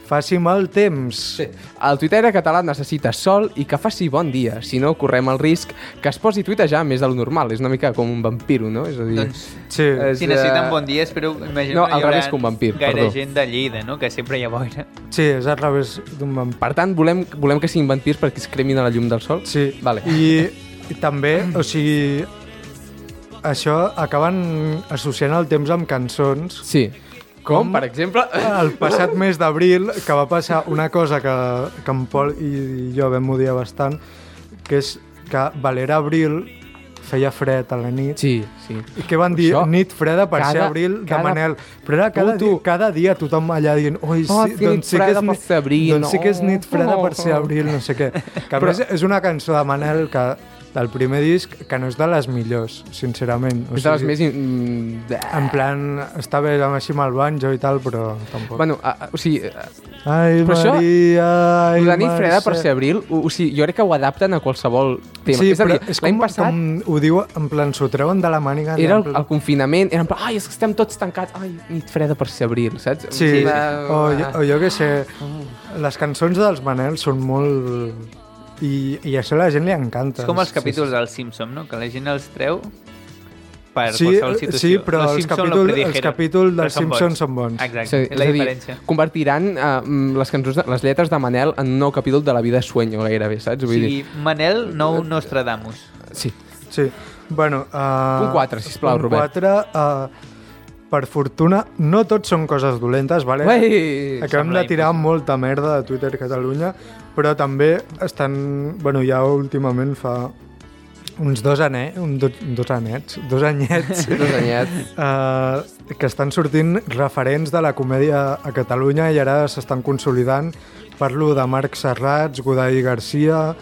Faci'm el temps.
Sí. El Twitter català necessita sol i que faci bon dia. Si no, correm el risc que es posi a tuitejar més del normal. És una mica com un vampiro, no? És a dir...
Doncs,
sí.
és,
si necessiten
eh,
bon dia, espero... Imagino
no,
que hi
al
haurà
revés que un vampir,
Gaire
perdó.
gent de Lleida, no? Que sempre hi ha boira.
sí, és al revés d'un vampir.
Per tant, volem, volem que siguin vampirs perquè es cremin a la llum del sol?
Sí.
Vale.
I, I també, o sigui, això acaben associant el temps amb cançons.
Sí. Com, per exemple...
El passat mes d'abril, que va passar una cosa que, que en Pol i jo vam odiar bastant, que és que Valera Abril feia fred a la nit.
Sí, sí.
I què van dir?
Això-
nit freda per ser
cada-
abril de
cada-
Manel. Però era cada,
Puto.
dia, cada dia tothom allà dient oi, sí,
Oh, sí, nit
doncs, sí que
freda
és,
per
nit-
ser abril,
doncs sí que és
no.
nit freda per ser
Oh.
abril, no sé què. Que a més és una cançó de Manel que, del primer disc que no és de les millors, sincerament. O
És de les més... in- mm,
En plan, està bé amb així amb el banjo i tal, però tampoc.
Bueno, a, a- o sigui, a-
Ai,
Però això-
Maria, ai,
la nit
Mercè.
freda per ser abril, o, o sigui, jo crec que ho adapten a qualsevol tema.
Sí,
és a dir,
però és
l'any
com,
passat
com ho diu, en plan, s'ho treuen de la màniga.
era
en
el,
plan-
el confinament, era en plan, ai, és que estem tots tancats, ai, nit freda per ser abril, saps?
Sí, sí, sí. O, jo, o
oi.
jo què sé, les cançons dels Manel són molt... I, i això a la gent li encanta.
És com els capítols del Simpson, no? Que la gent els treu per
Sí,
qualsevol situació.
sí, però
Los
els
Simpson lo
capítols-
predijeron,
els capítols
però
dels Simpson són bons.
Exacte, és la diferència.
convertiran eh, mm, les cançons, de, les lletres de Manel en un nou capítol de la vida sueño, gairebé, saps?
O
Vull
sigui, Manel, nou Nostradamus.
dir, sí.
Sí. Bueno, uh,
Punt quatre, sisplau, Robert.
Punt 4, uh, per fortuna, no tot són coses dolentes, vale?
Uei!
Acabem
Sembla
de tirar
impossible.
molta merda de Twitter Catalunya, però també estan... Bueno, ja últimament fa uns dos, ane, un do, dos anets, dos anyets,
Dos anyets.
eh, que estan sortint referents de la comèdia a Catalunya i ara s'estan consolidant. Parlo de Marc Serrats, Godai Garcia,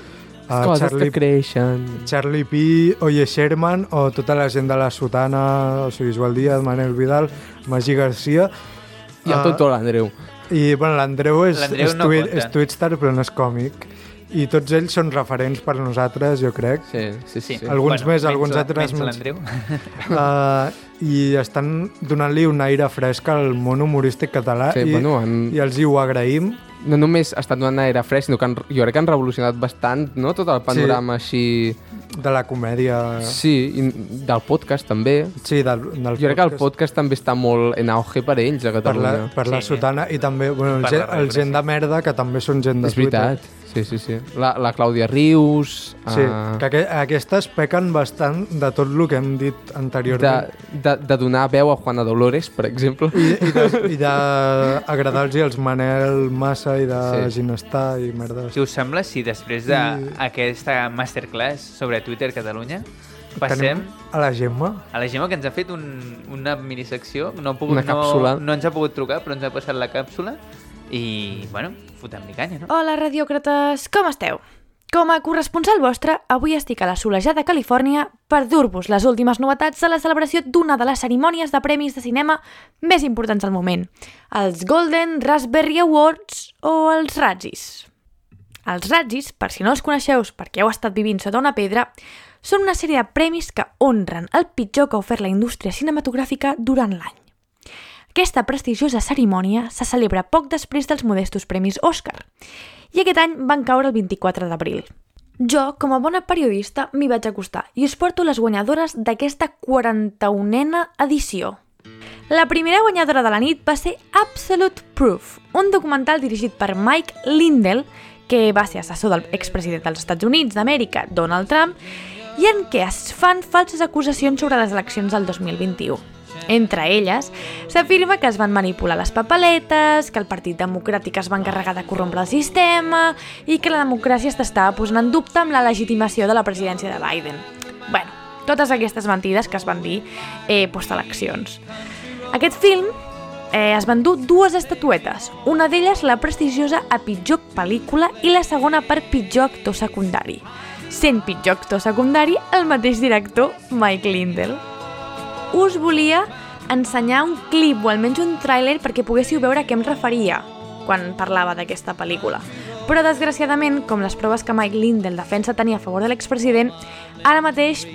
a
Coses
Ah, Charlie,
que creixen.
Charlie P, Oye Sherman o tota la gent de la Sotana, o sigui, Joel Díaz, Manel Vidal, Magí Garcia.
I el Toto l'Andreu.
I bueno, l'Andreu és,
L'Andreu
és,
no
twi
compta.
és Twitstar, però no és còmic. I tots ells són referents per nosaltres, jo crec.
Sí, sí, sí. sí.
Alguns més, alguns
menys-
altres
Menys
menys.
l'Andreu.
Uh, I estan donant-li un aire fresc al món humorístic català
Sí,
i,
bueno, han-
i els hi ho agraïm.
No només estan donant aire fresc, sinó que han, jo crec que han revolucionat bastant no? tot el panorama sí.
De la comèdia...
així... Sí, i del podcast també.
Sí, del, del
Jo crec que el podcast també està molt en auge per ells a
per la,
Catalunya.
per la
Sí.
sotana i també bueno, el,
Per la
gent, el
radiografia.
gent de merda que també són gent de
És veritat. Sí, sí, sí. La, la Clàudia Rius...
Twitter. Sí,
eh,
que aqu aquestes pequen bastant de tot el que hem dit
de,
anteriorment.
de, de donar veu a Juana Dolores, per exemple.
I, i de- i d'agradar-los els Manel Massa i de
Sí.
sí. Ginestà i merdes.
Si us sembla, si després d'aquesta masterclass sobre Twitter Catalunya passem
Tenim a la Gemma?
a la Gemma que ens ha fet un, una minisecció, no, ha pogut,
Una
no,
càpsula.
no ens ha pogut trucar però ens ha passat la càpsula i, bueno, fotem-li canya, no?
Hola, radiòcrates, com esteu? Com a corresponsal vostre, avui estic a la solejada Califòrnia per dur-vos les últimes novetats de la celebració d'una de les cerimònies de premis de cinema més importants del moment, els Golden Raspberry Awards o els Razzies. Els Razzies, per si no els coneixeu perquè heu estat vivint sota una pedra, són una sèrie de premis que honren el pitjor que ha ofert la indústria cinematogràfica durant l'any. Aquesta prestigiosa cerimònia se celebra poc després dels modestos premis Òscar, i aquest any van caure el 24 d'abril. Jo, com a bona periodista, m'hi vaig acostar i us porto les guanyadores d'aquesta 41a edició. La primera guanyadora de la nit va ser Absolute Proof, un documental dirigit per Mike Lindell, que va ser assessor del expresident dels Estats Units d'Amèrica, Donald Trump, i en què es fan falses acusacions sobre les eleccions del 2021. Entre elles, s'afirma que es van manipular les papeletes, que el Partit Democràtic es va encarregar de corrompre el sistema i que la democràcia s'estava posant en dubte amb la legitimació de la presidència de Biden. bueno, totes aquestes mentides que es van dir eh, post-eleccions. Aquest film eh, es van dur dues estatuetes, una d'elles la prestigiosa a pitjor pel·lícula i la segona per pitjor actor secundari. Sent pitjor actor secundari el mateix director Mike Lindell. Us volia ensenyar un clip o almenys un tràiler perquè poguéssiu veure a què em referia quan parlava d'aquesta pel·lícula. Però, desgraciadament, com les proves que Mike Lindell defensa tenir a favor de l'expresident, ara mateix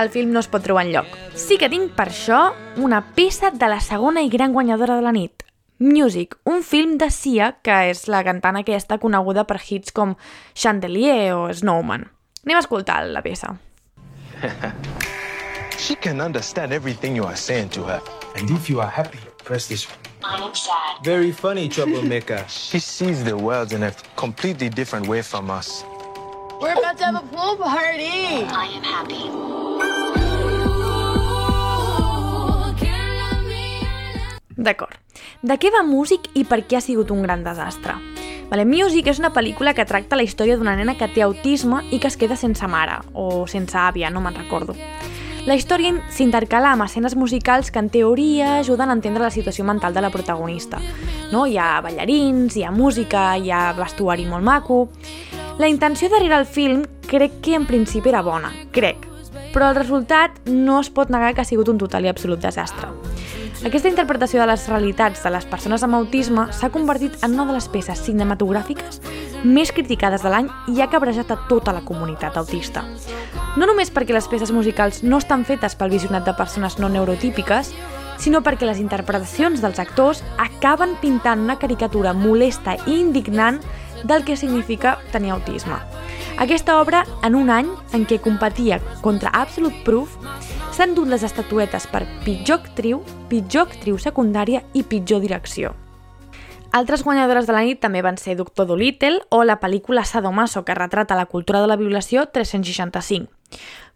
el film no es pot trobar enlloc. Sí que tinc per això una peça de la segona i gran guanyadora de la nit, Music, un film de Sia, que és la cantant aquesta coneguda per hits com Chandelier o Snowman. Anem a escoltar la peça.
She can understand everything you are saying to her. And if you are happy, press this one. I'm sad. Very funny, troublemaker. she sees the world in a completely different way from us.
We're about to have a pool party.
I am happy.
D'acord. De què va Music i per què ha sigut un gran desastre? Vale, Music és una pel·lícula que tracta la història d'una nena que té autisme i que es queda sense mare, o sense àvia, no me'n recordo. La història s'intercala amb escenes musicals que en teoria ajuden a entendre la situació mental de la protagonista. No? Hi ha ballarins, hi ha música, hi ha vestuari molt maco... La intenció darrere el film crec que en principi era bona, crec, però el resultat no es pot negar que ha sigut un total i absolut desastre. Aquesta interpretació de les realitats de les persones amb autisme s'ha convertit en una de les peces cinematogràfiques més criticades de l'any i ha cabrejat a tota la comunitat autista. No només perquè les peces musicals no estan fetes pel visionat de persones no neurotípiques, sinó perquè les interpretacions dels actors acaben pintant una caricatura molesta i indignant del que significa tenir autisme. Aquesta obra, en un any en què competia contra Absolute Proof, s'han dut les estatuetes per pitjor actriu, pitjor actriu secundària i pitjor direcció. Altres guanyadores de la nit també van ser Doctor Dolittle o la pel·lícula Sadomaso, que retrata la cultura de la violació 365.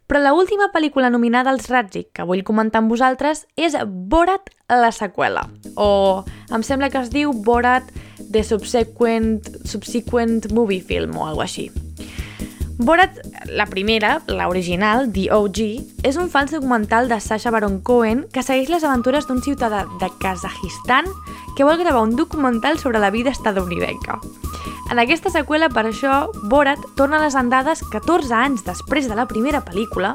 Però la última pel·lícula nominada als Razzie que vull comentar amb vosaltres és Borat la seqüela, o em sembla que es diu Borat the Subsequent, Subsequent Movie Film o alguna així. Borat, la primera, la original, The OG, és un fals documental de Sacha Baron Cohen que segueix les aventures d'un ciutadà de Kazajistan que vol gravar un documental sobre la vida estatunidenca. En aquesta seqüela, per això, Borat torna a les andades 14 anys després de la primera pel·lícula,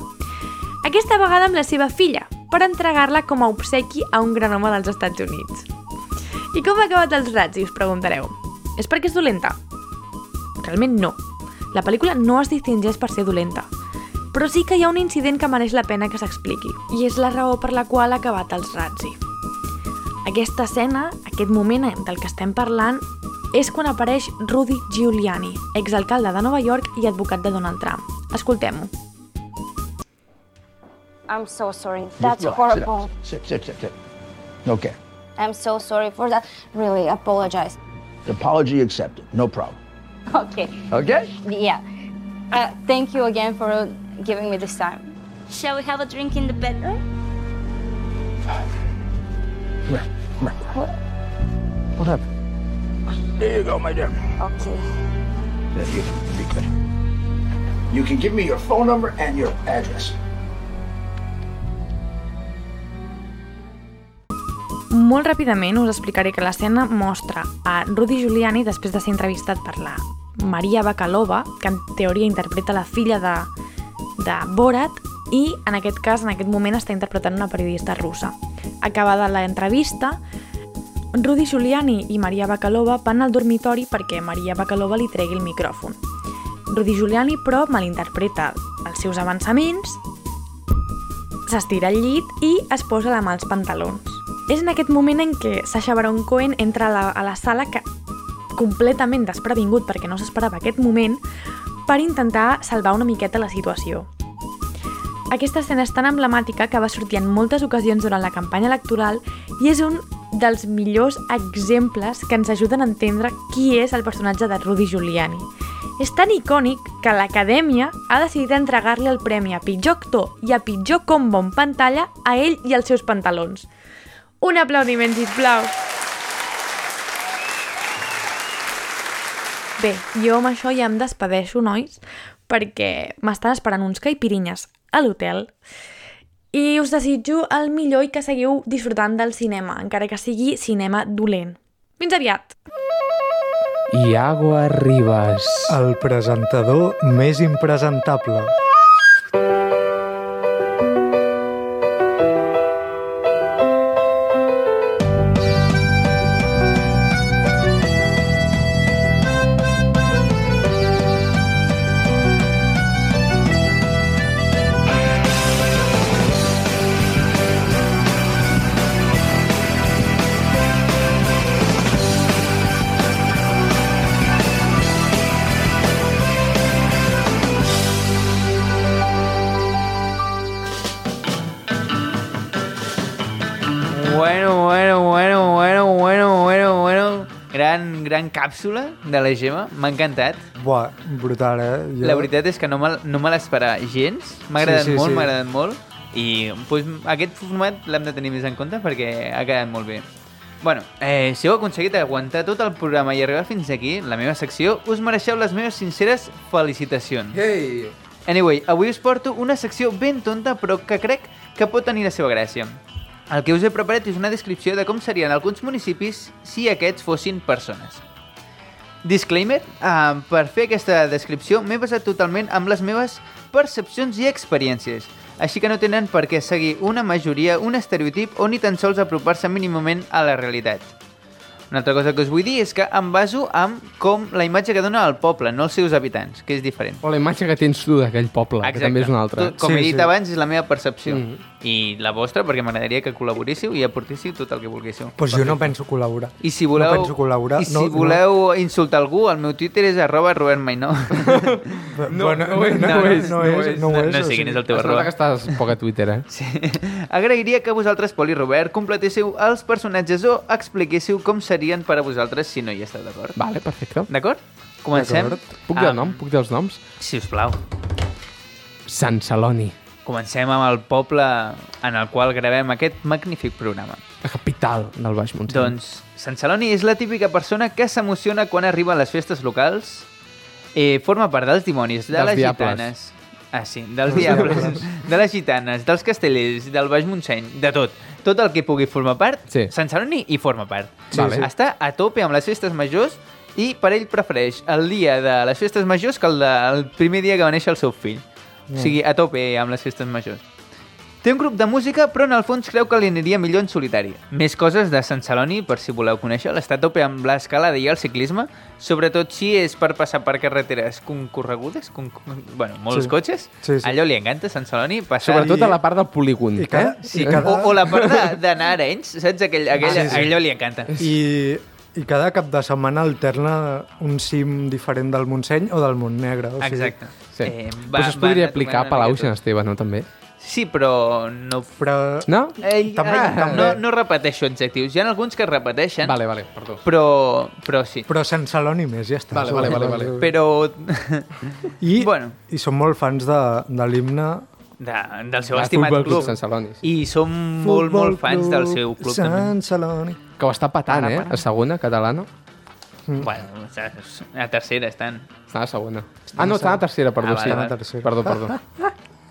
aquesta vegada amb la seva filla, per entregar-la com a obsequi a un gran home dels Estats Units. I com ha acabat els rats, si us preguntareu? És perquè és dolenta? Realment no. La pel·lícula no es distingeix per ser dolenta. Però sí que hi ha un incident que mereix la pena que s'expliqui, i és la raó per la qual ha acabat els Razzi. Aquesta escena, aquest moment del que estem parlant, és quan apareix Rudy Giuliani, exalcalde de Nova York i advocat de Donald Trump. Escoltem-ho.
I'm so sorry.
Just
That's
relax, relax.
horrible.
Sit, sit, sit, sit. Okay.
I'm so sorry for that. Really, apologize.
Apology accepted. No problem.
Okay.
Okay?
Yeah. Uh, thank you again for giving me this time. Shall we have a drink in the bedroom?
Come here. Come here. Hold up. There you go, my dear.
Okay.
There you be good. You can give me your phone number and your address.
Molt ràpidament us explicaré que l'escena mostra a Rudy Giuliani després de ser entrevistat per la Maria Bakalova, que en teoria interpreta la filla de, de Borat, i en aquest cas, en aquest moment, està interpretant una periodista russa. Acabada l'entrevista, Rudy Giuliani i Maria Bakalova van al dormitori perquè Maria Bakalova li tregui el micròfon. Rudy Giuliani, però, malinterpreta els seus avançaments, s'estira al llit i es posa la mà als pantalons. És en aquest moment en què Sacha Baron Cohen entra a la, a la sala que completament desprevingut perquè no s'esperava aquest moment per intentar salvar una miqueta la situació. Aquesta escena és tan emblemàtica que va sortir en moltes ocasions durant la campanya electoral i és un dels millors exemples que ens ajuden a entendre qui és el personatge de Rudy Giuliani. És tan icònic que l'Acadèmia ha decidit entregar-li el premi a pitjor actor i a pitjor combo en pantalla a ell i els seus pantalons. Un aplaudiment, sisplau! Bé, jo amb això ja em despedeixo, nois, perquè m'estan esperant uns caipirinyes a l'hotel i us desitjo el millor i que seguiu disfrutant del cinema, encara que sigui cinema dolent. Fins aviat!
Iago Arribas.
El presentador més impresentable.
Bueno, bueno, bueno, bueno, bueno, bueno, bueno. Gran, gran càpsula de la Gemma. M'ha encantat.
Buah, brutal, eh? Jo...
La veritat és que no me, no me l'esperava gens. M'ha agradat sí,
Sí, sí,
sí, molt,
sí.
sí. m'ha agradat molt. I pues, aquest format l'hem de tenir més en compte perquè ha quedat molt bé. Bueno, eh, si heu aconseguit aguantar tot el programa i arribar fins aquí, la meva secció, us mereixeu les meves sinceres felicitacions.
Hey!
Anyway, avui us porto una secció ben tonta però que crec que pot tenir la seva gràcia. El que us he preparat és una descripció de com serien alguns municipis si aquests fossin persones. Disclaimer, uh, per fer aquesta descripció m'he basat totalment amb les meves percepcions i experiències, així que no tenen per què seguir una majoria, un estereotip o ni tan sols apropar-se mínimament a la realitat. Una altra cosa que us vull dir és que em baso en com la imatge que dona el poble, no els seus habitants, que és diferent.
O la imatge que tens tu d'aquell poble, que també és una altra. eh?
Tot, com sí, he dit sí. abans, és la meva percepció. Mm. I la vostra, perquè m'agradaria que col·laboríssiu i aportéssiu tot el que volguéssiu.
Pues jo no penso col·laborar.
I si voleu,
No penso col·laborar.
I si
no,
voleu no. insultar algú, el meu Twitter és arroba Robert Mainó.
No, no, no, no, no, no, és, no, és, no,
no,
és,
no
o
sé
sigui-
quin és el teu
Es nota
arroba.
que estàs poc a Twitter, eh?
Sí. Agrairia que vosaltres, Pol i Robert, completéssiu els personatges o expliquéssiu com serien per a vosaltres si no hi esteu d'acord.
Vale, perfecte.
D'acord? Comencem?
Puc dir el nom? Puc dir els noms?
Si us plau.
Sant Celoni,
Comencem amb el poble en el qual gravem aquest magnífic programa.
la capital del Baix Montseny.
Doncs Sant Celoni és la típica persona que s'emociona quan arriba a les festes locals. Eh, forma part dels dimonis, de
Dels
les
diables.
gitanes... Ah, sí, dels diables, de les gitanes, dels castellers, del Baix Montseny, de tot. Tot el que pugui formar part,
Sí.
Sant Celoni hi forma part.
Sí, Vale. sí.
Està a tope amb les festes majors i per ell prefereix el dia de les festes majors que el, de, el primer dia que va néixer el seu fill.
Mm.
O sigui, a tope amb les festes majors. Té un grup de música, però en el fons creu que li aniria millor en solitari. Més coses de Sant Celoni, per si voleu conèixer, l'està a tope amb l'escalada i el ciclisme, sobretot si és per passar per carreteres concorregudes, con... con- bueno, molts
Sí.
cotxes.
Sí, sí.
Allò li encanta, Sant Celoni. Passar
Sobretot a la part del polígon.
I cada,
eh?
sí, cada... O, o la part de- d'anar a Arenys, saps? Aquell, aquell,
Ah, sí, sí.
Allò li encanta.
I, I cada cap de setmana alterna un cim diferent del Montseny o del Montnegre. O sigui,
Exacte.
Sí. Eh, va, Però això es podria aplicar a Palau i Sant Esteve, no? També.
Sí, però no...
Però...
No?
Ell,
També-
ah,
també.
no, no repeteixo adjectius. Hi ha alguns que es repeteixen.
Vale, vale, perdó.
Però, però sí.
Però Sant Celoni més, ja està.
Vale, vale, vale, vale.
Però...
I, bueno. I són molt fans de, de l'himne...
De, del seu
Va,
estimat
Futbol
club.
Club Sant Celoni,
I som molt, molt fans del seu club. també.
Sant Celoni.
Que ho està patant, eh? A segona, catalana.
Bueno, saps? a tercera estan.
Està a segona. Ah, no, està a tercera, perdó.
Ah, vale,
sí.
vale.
Perdó, perdó.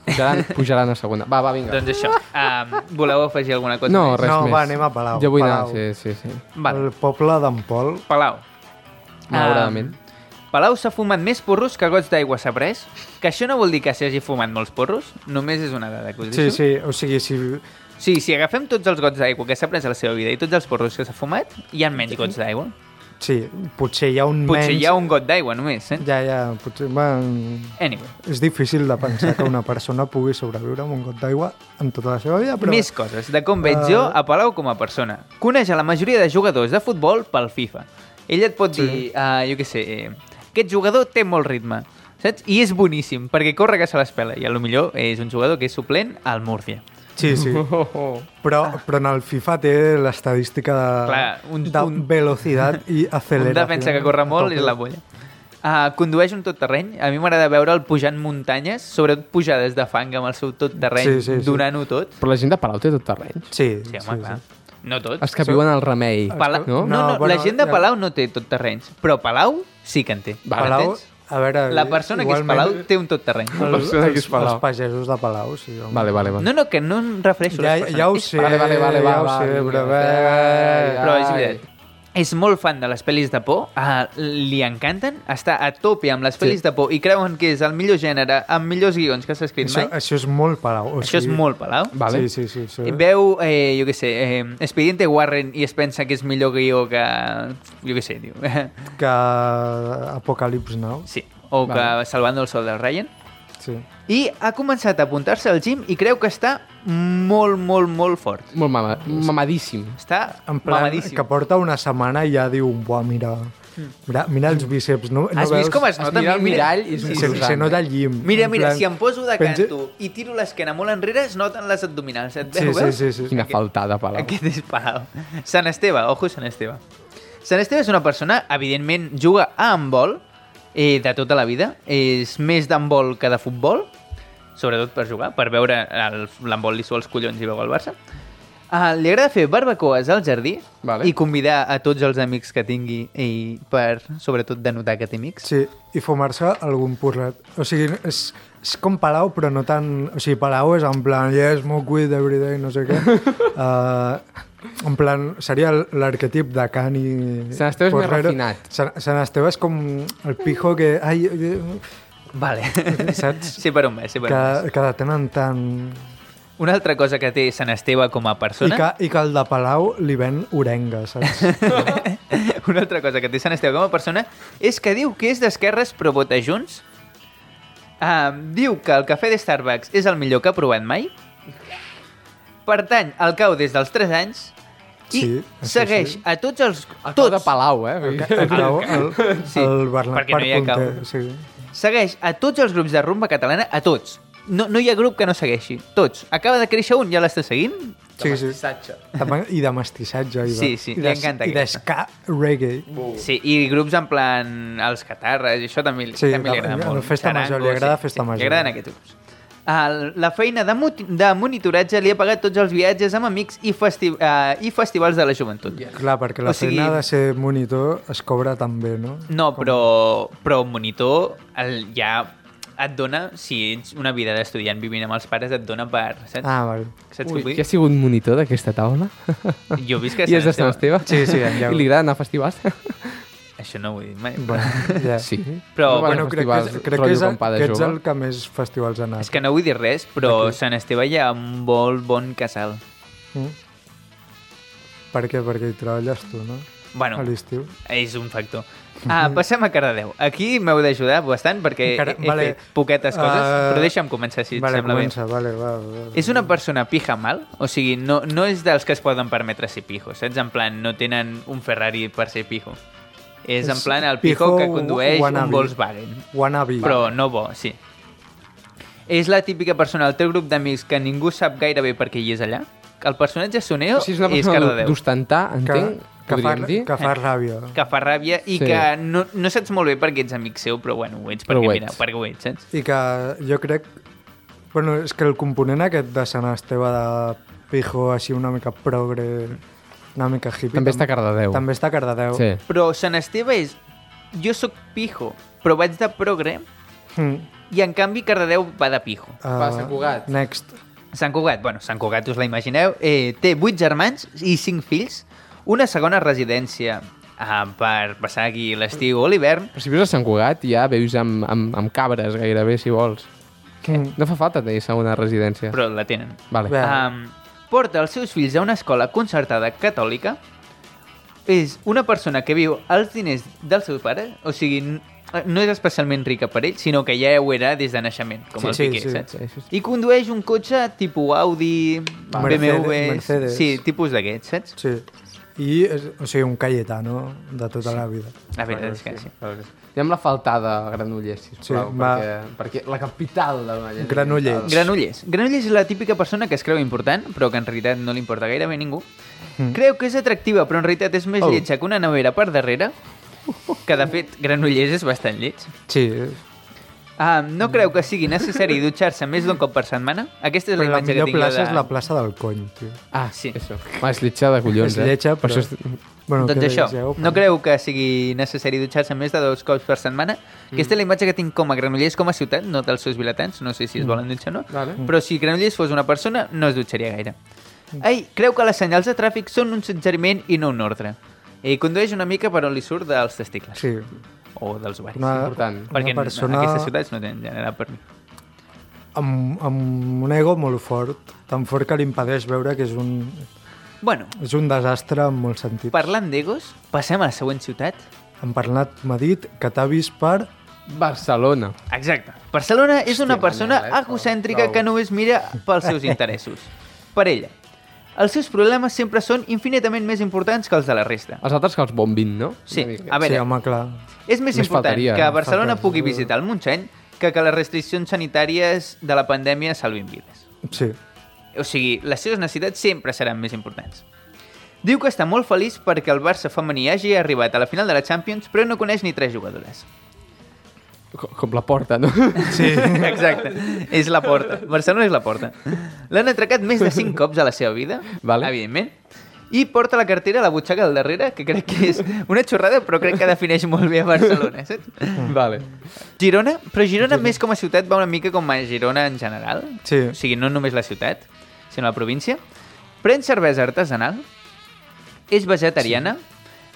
Pujaran, pujaran a segona. Va, va, vinga.
Doncs això. Um, voleu afegir alguna cosa?
No,
més?
res més. Jo vull anar, sí, sí, sí.
Vale.
El poble d'en Pol.
Palau. Ah.
Malauradament.
Um, Palau s'ha fumat més porros que gots d'aigua s'ha pres, que això no vol dir que s'hagi fumat molts porros, només és una dada que us
Sí,
deixo.
sí, o sigui, si...
Sí, si agafem tots els gots d'aigua que s'ha pres a la seva vida i tots els porros que s'ha fumat, hi ha menys gots d'aigua.
Sí, potser hi ha un
Potser
menys...
hi ha un got d'aigua només, eh?
Ja, ja, potser... Bueno,
Anyway.
És difícil de pensar que una persona pugui sobreviure amb un got d'aigua en tota la seva vida, però...
Però... Més coses, de com veig jo
Eh,
a Palau com a persona. Coneix a la majoria de jugadors de futbol pel FIFA. Ell et pot sí. dir, uh, jo què sé, eh, aquest jugador té molt ritme, saps? I és boníssim, perquè corre que se l'espela. I a lo millor és un jugador que és suplent al Múrcia.
Sí, sí.
Oh,
Però, però en el FIFA té l'estadística de,
Clar, un-
de
un-
velocitat i
Un
aceleració.
defensa que corre molt és la bolla. Uh, condueix un tot terreny. A mi m'agrada veure'l pujant muntanyes, sobretot pujades de fang amb el seu tot terreny,
Sí, sí, sí.
donant-ho tot.
Però la gent de Palau té tot terreny.
Sí,
Sí, home, clar. No tots.
Els que viuen al remei,
Pala...
no?
No, no, no bueno, la gent de Palau no té tot terrenys, però Palau sí que en té.
Palau,
Entens?
a veure...
La persona que és
igualment-
Palau té un tot terreny.
El- els, Els pagesos de Palau, sí. Home.
Vale, vale, vale.
No, no, que no em refereixo a
Ja,
les persones.
ja ho sé,
Vale, vale, vale,
ja
va,
ho
va,
sé,
vinga,
però...
va,
va,
Però és veritat. És molt fan de les pel·lis de por, uh, li encanten, està a tope amb les pel·lis de por i creuen que és el millor gènere amb millors guions que s'ha escrit
Això,
mai.
això és molt Palau. O
Això és molt Palau. Vale.
Sí, sí, sí. sí.
Eh, Veu, eh, jo què sé, eh, Expediente Warren i es pensa que és millor guió que... Jo què sé, diu.
Que Apocalips Now.
Sí. O que
Vale.
Salvando el Sol del Ryan.
Sí.
I ha començat a apuntar-se al gym i creu que està molt, molt, molt fort.
Molt mama, mamadíssim.
Està
En plan,
mamadíssim.
que porta una setmana i ja diu, buah, mira, mira, mira els bíceps. No, no
Has
veus?
vist com es nota?
mira al mirall i és un
se,
croissant,
se nota
eh?
el llim.
Mira,
En
mira,
plan,
si em poso de
penja-
canto i tiro l'esquena molt enrere, es noten les abdominals. Et
Sí,
veus?
sí, sí, sí.
Quina faltada, Palau.
Aquest és Palau. Sant Esteve, ojo Sant Esteve. Sant Esteve és una persona, evidentment, juga a handbol eh, de tota la vida. És més d'handbol que de futbol, sobretot per jugar, per veure el- l'handbol li sou els collons i veu el Barça. Uh, li agrada fer barbacoes al jardí vale. i convidar a tots els amics que tingui i per, sobretot, denotar que té amics.
Sí, i fumar-se algun porret. O sigui, és, és com Palau, però no tan... O sigui, Palau és en plan, yes, smoke weed every day, no sé què. uh, en plan, seria l- l'arquetip de Cani...
Sant Esteve és més refinat.
Sant, Sant Esteve és com el pijo que... Ai, eh,
Vale.
Saps?
Sí per on va, sí per
que,
on va.
que de tant en tant...
Una altra cosa que té Sant Esteve com a
I
persona...
que, I que el de Palau li ven orenga, saps?
Una altra cosa que té Sant Esteve com a persona és que diu que és d'esquerres però vota junts. Um, diu que el cafè de Starbucks és el millor que ha provat mai. Pertany al cau des dels 3 anys i
Sí, això
segueix
sí.
a tots els... A tots, de
Palau, eh?
El, Palau, el,
Sí,
el Bernat
perquè no hi ha cau.
Parpunter, sí.
Segueix a tots els grups de rumba catalana, a tots. No, no hi ha grup que no segueixi, tots. Acaba de créixer un, ja l'està seguint?
Sí, sí. De ma- I de mestissatge. I de,
Sí, sí,
i
li
de-
encanta
I de
aquesta.
ska reggae.
Sí, i grups en plan els catarres, i això també, li-
Sí,
també li agrada
la-
molt.
la festa major, li agrada festa major.
Li agraden aquests grups. El, la feina de, muti- de monitoratge li ha pagat tots els viatges amb amics i, festi eh, i festivals de la joventut.
Clar, perquè la
O sigui-
feina de ser monitor es cobra també, no?
No, però, però un monitor el, ja et dona, si ets una vida d'estudiant vivint amb els pares, et dona per... Saps?
Ah, val.
Saps què
Ui,
vull dir?
qui ha sigut monitor d'aquesta taula?
Jo visc a
I és de Sant
Sant Esteve.
Esteve?
Sí, sí, en Lleu.
I li agrada anar a festivals?
Això no ho he dit mai.
Bueno, ja.
Sí.
Però,
bueno,
bueno,
crec que, és, crec que, és, el, que ets el que més festivals ha anat.
És que no vull dir res, però a Sant Esteve hi ha un molt bon casal.
Per què? Perquè hi treballes tu, no?
Bueno.
A l'estiu.
És un factor. Ah, passem a Cardedeu. Aquí m'heu d'ajudar bastant perquè Encara,
Encara-
he, he
vale.
vale. fet poquetes coses,
Ah,
però deixa'm començar, si et
vale,
sembla
comença, bé. Vale, va, va,
bé. És una persona pija mal, o sigui, no, no és dels que es poden permetre ser pijos, saps? En plan, no tenen un Ferrari per ser pijo. És, en plan el pijo, que condueix un Volkswagen.
Wannabe.
Però no bo, sí. És la típica persona del teu grup d'amics que ningú sap gairebé per què hi és allà. El personatge Soneo
O sigui, és una persona
Cardedeu.
d'ostentar, entenc,
que fa-
podríem dir.
que fa
Eh.
ràbia.
Que fa ràbia i
Sí.
sí. que no, no saps molt bé per què ets amic seu, però bueno, ho ets
Però
perquè,
ho
mira,
ets.
perquè ho ets, saps?
I que jo crec... Bueno, és que el component aquest de Sant Esteve de pijo així una mica progre, una mica hippie...
També
tam-
està a Cardedeu.
També està a Cardedeu.
Sí.
Però Sant Esteve és... Jo sóc pijo, però vaig de progre
Mm.
i en canvi Cardedeu va de pijo.
Va, Sant Cugat. Next.
Sant Cugat, bueno, Sant Cugat us la imagineu, eh, té vuit germans i cinc fills, una segona residència eh, per passar aquí l'estiu o l'hivern,
Però si vius a Sant Cugat ja veus amb, amb, amb cabres gairebé, si vols.
Què?
No fa falta tenir segona residència.
però la tenen.
Vale.
Ah.
Um, porta els seus fills a una escola concertada catòlica. És una persona que viu els diners del seu pare, o sigui, n- eh, no és especialment rica per ell, sinó que ja ho era des de naixement, com
Sí,
el
sí,
Piqué,
sí,
saps?
sí, sí,
I condueix un cotxe tipus Audi,
Va.
BMW...
Mercedes.
Sí, tipus d'aquests, saps?
Sí. I, és- o sigui, un Cayetano de tota la vida.
La veritat és que sí.
Ja amb la faltada a Granollers, sisplau,
Sí,
sí,
va.
perquè, perquè la capital de Granollers.
Granollers. Granollers és la típica persona que es creu important, però que en realitat no li importa gairebé a ningú.
Mm.
Creu que és atractiva, però en realitat és més
Oh.
oh. lletja que una nevera per darrere, que de fet Granollers és bastant lleig.
Sí.
Ah, no creu que sigui necessari dutxar-se més d'un cop per setmana? Aquesta és la
Però la
imatge que
millor
tinc jo
plaça
de...
és la plaça del cony, tio.
Ah, sí. Això.
Va, és lletja de collons,
És
eh?
lletja,
Per
però-
això és-
Bueno,
doncs
que
això,
vegeu,
no creu que sigui necessari dutxar-se més de dos cops per setmana? Mm. Aquesta és la imatge que tinc com a Granollers, com a ciutat, no dels seus vilatans, no sé
Mm.
si es volen dutxar o no,
Vale.
però si Granollers fos una persona, no es dutxaria gaire.
Mm.
Ai, creu que les senyals de tràfic són un suggeriment i no un ordre. I condueix una mica per on li surt dels testicles.
Sí.
O dels ovaris.
Una-
Important.
una
Perquè en-
persona-
en aquestes ciutats no tenen general per mi.
Amb, amb un ego molt fort, tan fort que li impedeix veure que és un...
Bueno.
És un desastre en molts sentits.
Parlant d'egos, passem a la següent ciutat.
En Bernat m'ha dit que t'ha vist per...
Barcelona.
Exacte. Barcelona és una
Hòstia,
persona
Manel, eh?
egocèntrica
Prou.
que només mira pels seus interessos. Per ella. Els seus problemes sempre són infinitament més importants que els de la resta.
Els altres que els bombin, no?
Sí,
Una mica.
a veure.
Sí, home, clar.
És més
Només
important
faltaria,
que
eh?
Barcelona
Faltaria.
pugui visitar el Montseny que que les restriccions sanitàries de la pandèmia salvin vides.
Sí.
O sigui, les seves necessitats sempre seran més importants. Diu que està molt feliç perquè el Barça femení hagi arribat a la final de la Champions, però no coneix ni tres jugadores.
Com, com la porta, no?
Sí. Exacte. És la porta. Barcelona és la porta. L'han atracat més de 5 cops a la seva vida, vale. evidentment, i porta la cartera a la butxaca del darrere, que crec que és una xorrada, però crec que defineix molt bé a Barcelona, saps?
Vale.
Girona, però Girona més com a ciutat va una mica com a Girona en general.
Sí.
O sigui, no només la ciutat, sinó la província. Pren cervesa artesanal, és vegetariana,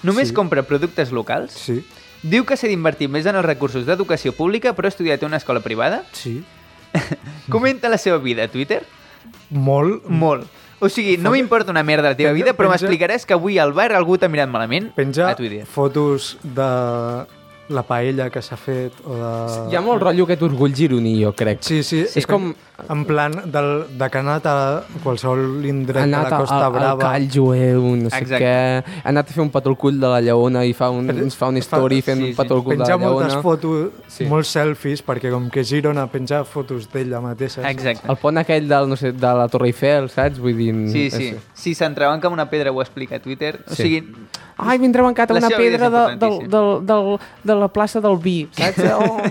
només
Sí.
compra productes locals,
sí.
diu que s'ha d'invertir més en els recursos d'educació pública, però ha estudiat a una escola privada,
Sí. Mhm.
comenta la seva vida a Twitter,
Molt.
molt. O sigui, no m'importa una merda la teva
Mhm. Penja-
vida, però
penja-
m'explicaràs que avui al bar algú t'ha mirat malament
Ah,
Penja
a Twitter.
fotos de la paella que s'ha fet o de...
Hi ha molt rotllo aquest orgull gironí, jo crec.
Sí, sí, sí. és com... En plan, del, de que ha anat a qualsevol indret
ha anat
de la Costa
al, al
Brava.
call jueu, no sé
Exacte.
què, ha anat a fer un petó al cull de la lleona i fa un, ens fa un story fent un petó al cull de la
penja
lleona.
moltes fotos, sí. molts selfies, perquè com que Girona penja fotos d'ella mateixa. saps?
El pont aquell del, no sé, de la Torre Eiffel, saps? Vull dir...
Sí, sí. Si s'entrebanca amb una pedra, ho explica a Twitter. O
Sí.
sigui...
Ai, m'he entrebancat
La
una
seva vida
pedra
és
de, de,
importantíssima.
de, de, de la plaça del vi, saps? Oh,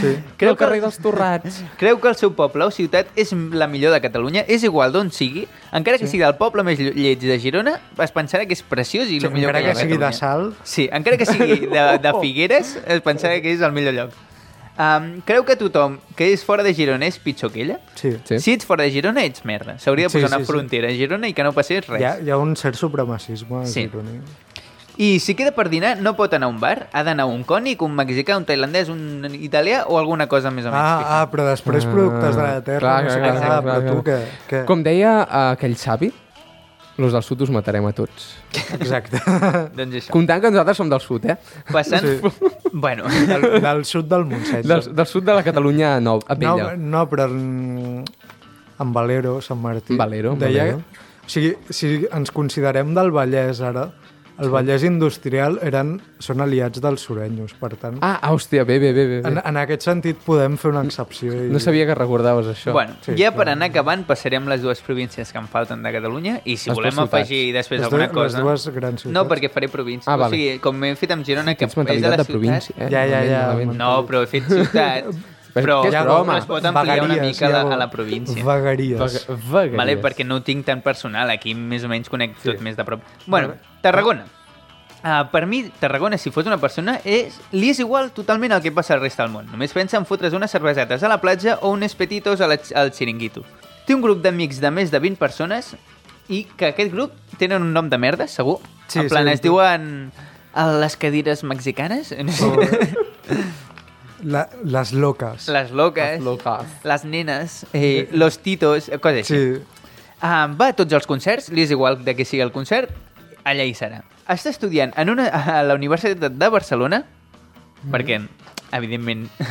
sí.
Creu
Del carrer dels Torrats.
Creu que el seu poble o ciutat és la millor de Catalunya, és igual d'on sigui, encara que sí.
Sí.
sigui del poble més lle- lleig de Girona, es pensarà que és preciós i
Sí,
el millor
encara
que hi ha
que
a
sigui de
Catalunya.
sal.
Sí, encara que sigui de, de Figueres, es pensarà que és el millor lloc. Um, creu que tothom que és fora de Girona és pitjor que ella?
Sí.
sí.
Si ets fora de Girona, ets merda. S'hauria de
Sí,
posar sí,
sí,
una
sí.
frontera a Girona i que no passés res.
Hi ha, hi ha un cert supremacisme
Sí.
sí. gironí.
I si queda per dinar, no pot anar a un bar, ha d'anar a un cònic, un mexicà, un tailandès, un italià o alguna cosa més o menys.
Ah, ah, però després productes de la terra,
clar,
no sé
clar,
què.
clar,
Ah,
clar,
però tu
clar.
què- què?
Com deia eh, aquell savi, los del sud us matarem a tots.
Exacte.
doncs això.
Comptant que nosaltres som del sud, eh?
Passant... Sí. Bueno.
Del, del sud del Montseny.
Del, del sud de la Catalunya nou, a
No,
Vella.
no, però en, en Valero, Sant Martí.
Valero, Valero.
O sigui, si ens considerem del Vallès ara, el Vallès industrial eren, són aliats dels surenyos, per tant...
Ah, hòstia, bé, bé, bé. bé.
En, en aquest sentit podem fer una excepció. I...
No sabia que recordaves això.
Bueno, sí, ja per anar acabant passarem les dues províncies que em falten de Catalunya i si
Les
volem
dues ciutats.
afegir després
Les
alguna
dues-
cosa...
les dues grans ciutats.
No, perquè faré província.
Ah,
Ah,
vale.
o sigui, com he fet amb Girona, que
Tens mentalitat
és de la
de província,
ciutat...
eh? Ja, ja, ja. Malament.
No, però he fet ciutat...
Però
però
és broma.
es pot ampliar una
Vegueries,
mica a la,
ja.
a la província.
Vegueries.
Vaga- vegueries.
Vale, perquè no ho tinc tan personal. Aquí més o menys conec sí. tot més de prop. Bueno, Tarragona. Uh, per mi, Tarragona, si fos una persona, és, li és igual totalment el que passa al resta del món. Només pensa en fotre's unes cervesetes a la platja o uns petitos a la, al xiringuito. Té un grup d'amics de més de 20 persones i que aquest grup tenen un nom de merda, segur.
Sí,
Sí, en plan,
sí,
sí, es
sí.
diuen a les cadires mexicanes? No sé.
La, les loques.
Les loques, les nenes, eh, los titos, eh, coses així.
Sí.
Ah, va a tots els concerts, li és igual de què sigui el concert, allà hi serà. Està estudiant en una, a la Universitat de Barcelona,
Mm-hmm.
mm. perquè, evidentment,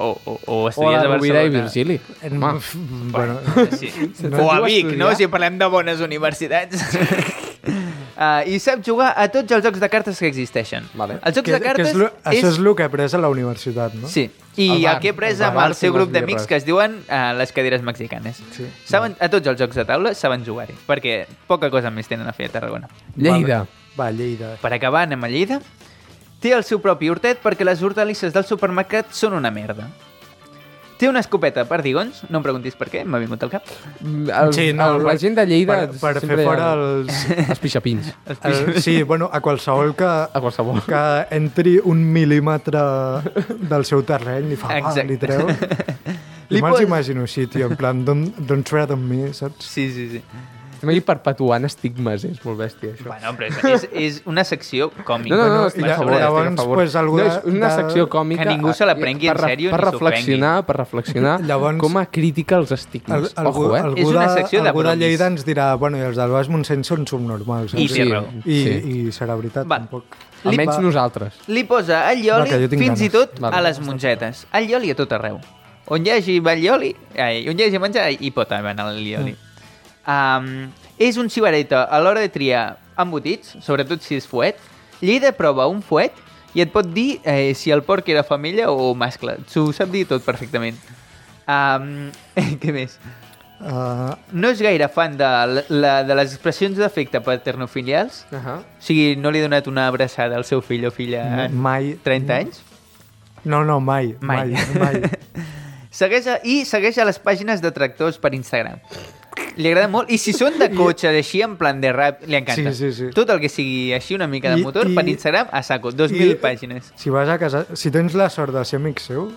o, o, o estudies
la
a Barcelona...
Rovira i Virgili.
En-
Home.
Bueno,
Sí.
No
O a
diu
Vic,
estudiar.
no? Si parlem de bones universitats. Uh, I sap jugar a tots els jocs de cartes que existeixen. Vale. Els jocs
Que-
de cartes
que és lo, Això és el que he après a la universitat, no?
Sí, i el, que he pres amb el seu grup d'amics que es diuen uh, les cadires mexicanes. Sí. Saben, a tots els jocs de taula saben jugar-hi, perquè poca cosa més tenen a fer a Tarragona.
Lleida.
Va, Lleida.
Per acabar, anem a Lleida. Té el seu propi hortet perquè les hortalisses del supermercat són una merda. Té una escopeta per digons, no em preguntis per què, m'ha vingut al cap.
El, sí, no, el, la gent de Lleida...
Per, per fer
sempre-
fora els...
Els pixapins.
El, sí, bueno, a qualsevol que... A
qualsevol.
Que entri un mil·límetre del seu terreny i fa, va,
Exacte.
li treu.
Li
Li me'ls
pos-
imagino així, tio, en plan, don't, don't tread on me, saps?
Sí, sí, sí.
Estem aquí perpetuant estigmes, eh? és molt bèstia, això.
Bueno, però és, és, és una secció còmica.
No, no, no,
Per
estic a
sobre
favor,
de-
estic a favor. no, és una secció còmica eh,
Que ningú se la prengui en
per, re-
sèrio
per
ni
reflexionar, per reflexionar
Llavors-
com a crítica als estigmes.
Al- algú,
Ojo, eh?
algú de, algú de Lleida ens dirà bueno, i els del Baix Montseny són subnormals.
I
saps?
té raó.
I,
Sí.
I serà veritat,
Va.
tampoc.
Almenys
Va.
nosaltres.
Li posa
Va, que
allioli
jo tinc
fins i
ganes.
tot
Vale.
a les mongetes. Allioli a tot arreu. On hi hagi allioli, ai, on hi hagi menjar, hi pot haver allioli.
Mm.
Um, és un cigareta a l'hora de triar embotits, sobretot si és fuet. Lleida prova un fuet i et pot dir eh, si el porc era femella o mascle. S'ho sap dir tot perfectament. Um, què més?
Uh,
No és gaire fan de, la- la, de les expressions d'afecte paternofilials.
Uh -huh.
O sigui, no li he donat una abraçada al seu fill o filla en
Mai.
30 anys?
No, no, mai.
Mai.
Mai. mai.
Segueix a, I segueix a les pàgines de tractors per Instagram. Li agrada molt. I si són de cotxe, així, en plan de rap, li encanta.
Sí, sí, sí.
Tot el que sigui així, una mica de
I-
motor,
i-
per Instagram, a saco. 2.000 pàgines.
Si vas a casa... Si tens la sort de ser amic seu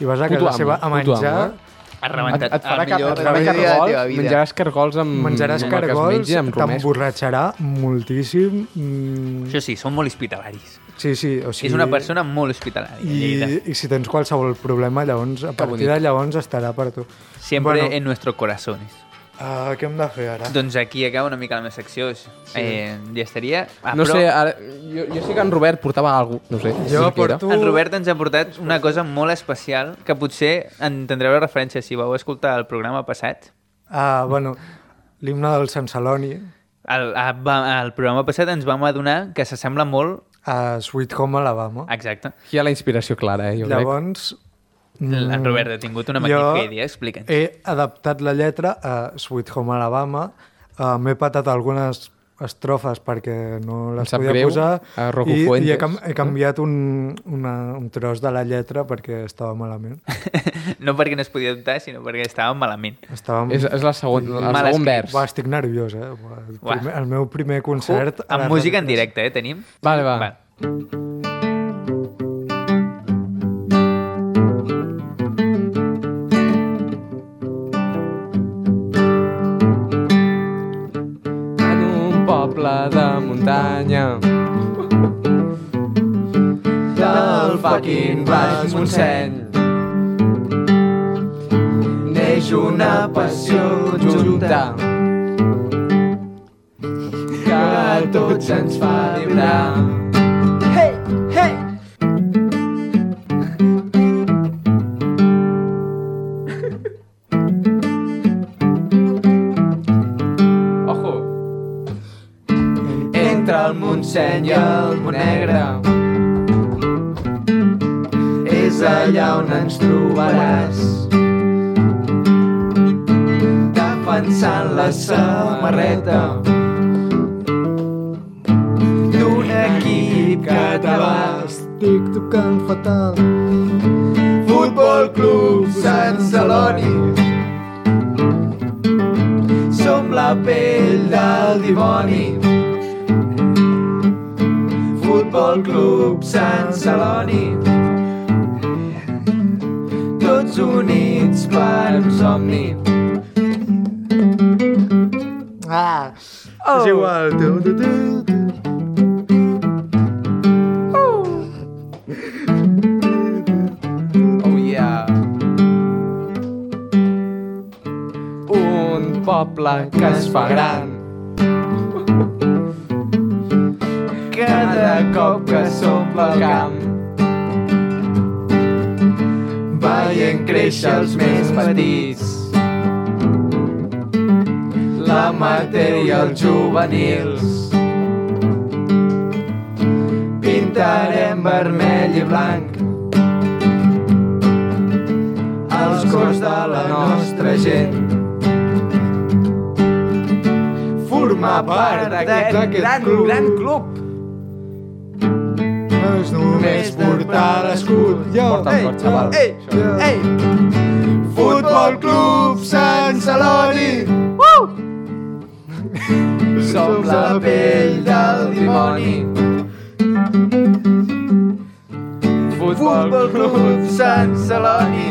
i vas a
Puto
casa
amo,
seva a
puto
menjar...
amo, eh?
Ha
Et,
rebentat.
et farà,
el
cap,
millor
et farà
dia de la teva
cargols,
vida.
menjaràs cargols amb...
Mm, Menjaràs
amb el que es
cargols,
mengi, amb romesco.
t'emborratxarà moltíssim. Mm,
Això sí, són molt hospitalaris.
sí, sí. O sigui,
És una persona molt hospitalària. Lleida.
I, I si tens qualsevol problema, llavors, a partir
bonic.
de llavors estarà per tu.
Sempre
Bueno.
en nuestros corazones.
Uh, què hem de fer ara?
Doncs aquí acaba una mica la meva secció. Eh, ja estaria... Ah,
No
però
sé, ara, jo, jo sé que en Robert portava alguna cosa, no sé. sí
Jo
que era.
porto-
En Robert ens ha portat una cosa molt especial que potser entendreu la referència si vau escoltar el programa passat.
Ah, bueno, l'himne del Sant Celoni,
El, a- va- el programa passat ens vam adonar que s'assembla molt...
a Sweet Home Alabama.
Exacte.
Hi ha la inspiració clara, eh, Ah, jo crec.
Llavors...
Mm. En
mm,
Robert ha tingut una
jo
magnífica idea, explica'ns.
He adaptat la lletra a Sweet Home Alabama. Uh, M'he patat algunes estrofes perquè no les
sap
podia
greu,
posar
a Rocco
i, i he,
Fuentes,
cam he canviat un, una, un tros de la lletra perquè estava malament
No perquè no es podia dubtar, sinó perquè estàvem malament.
estàvem...
És, és la segon, el
Mal
segon
escrit.
vers.
Uah, estic nerviós eh? Uah, el,
Uah.
primer, el meu primer concert a la Ah.
Amb música en
ràdio.
directe, eh, tenim?
Vale, va. va. En un poble de muntanya fucking Baix Montseny. Neix una passió conjunta que a tots ens fa vibrar. Hey, hey!
Ojo!
Entre el Montseny i el Monegre és allà on ens trobaràs defensant la samarreta d'un equip català. Estic tocant fatal. Futbol Club Sant Celoni. Som la pell del dimoni. Futbol Club Sant Celoni. Tots units per un somni.
Ah, oh. És igual. Tu, tu, tu, tu.
Oh yeah. Un poble que es fa gran.
Cada cop que som pel camp veient créixer els més petits l'amateur i els juvenils pintarem vermell i blanc els cors de la nostra gent formar part d'aquest gran, club. gran club
No és només portar l'escut. Jo,
Porta'l,
ei,
porta'l, xaval.
ei, ei.
Futbol Club Sant Celoni. Uh! Som la pell del dimoni. Futbol, Club Sant Celoni.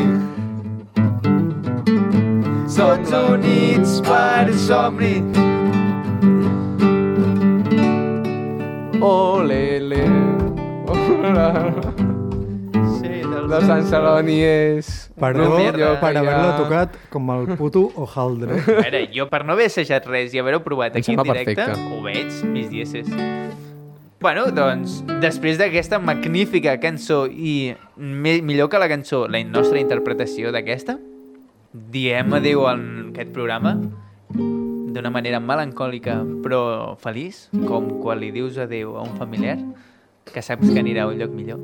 Tots units per un somni.
Ole, oh, le. Sí, del de Sant Celoni és...
Perdó
una millor
per
que hi ha.
haver-lo tocat com el puto hojaldre.
A veure, jo per no haver assajat res i haver-ho provat
Em
aquí en
sembla
directe,
perfecte.
ho veig, mis dieces. Bueno, doncs, després d'aquesta magnífica cançó i me millor que la cançó, la nostra interpretació d'aquesta, diem adéu a aquest programa d'una manera melancòlica però feliç, com quan li dius adéu a un familiar que saps que anirà a un lloc millor.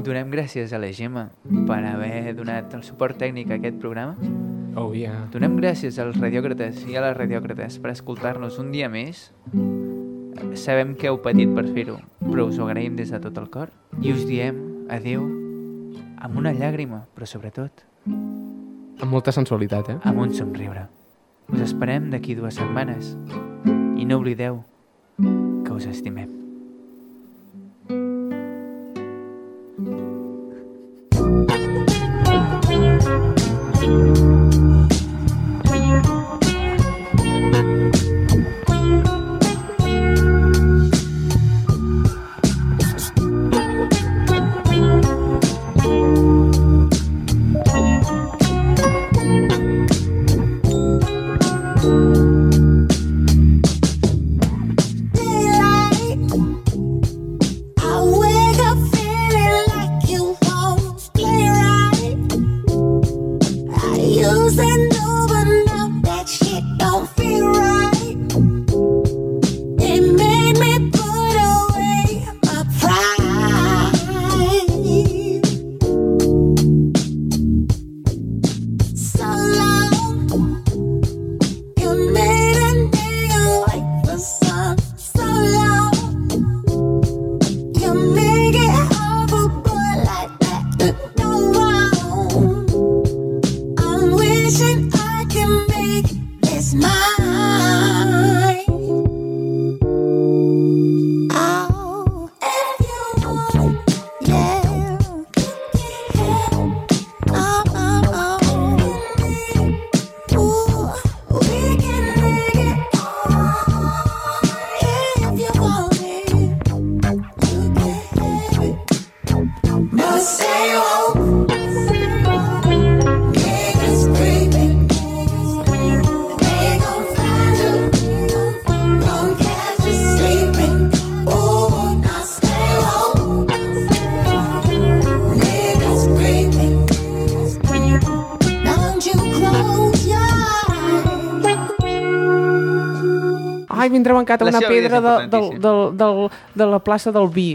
Donem gràcies a la Gemma per haver donat el suport tècnic a aquest programa.
Oh, yeah.
Donem gràcies als radiòcrates i a les radiòcrates per escoltar-nos un dia més. Sabem que heu patit per fer-ho, però us ho agraïm des de tot el cor. I us diem adeu amb una llàgrima, però sobretot
Amb molta sensualitat, eh?
amb un somriure. Us esperem d'aquí dues setmanes. I no oblideu que us estimem.
Daylight, Oh, Oh,
Ai, vindrà bancat
La
una
seva vida és
pedra de, del,
importantíssima.
del, del, de la plaça del vi.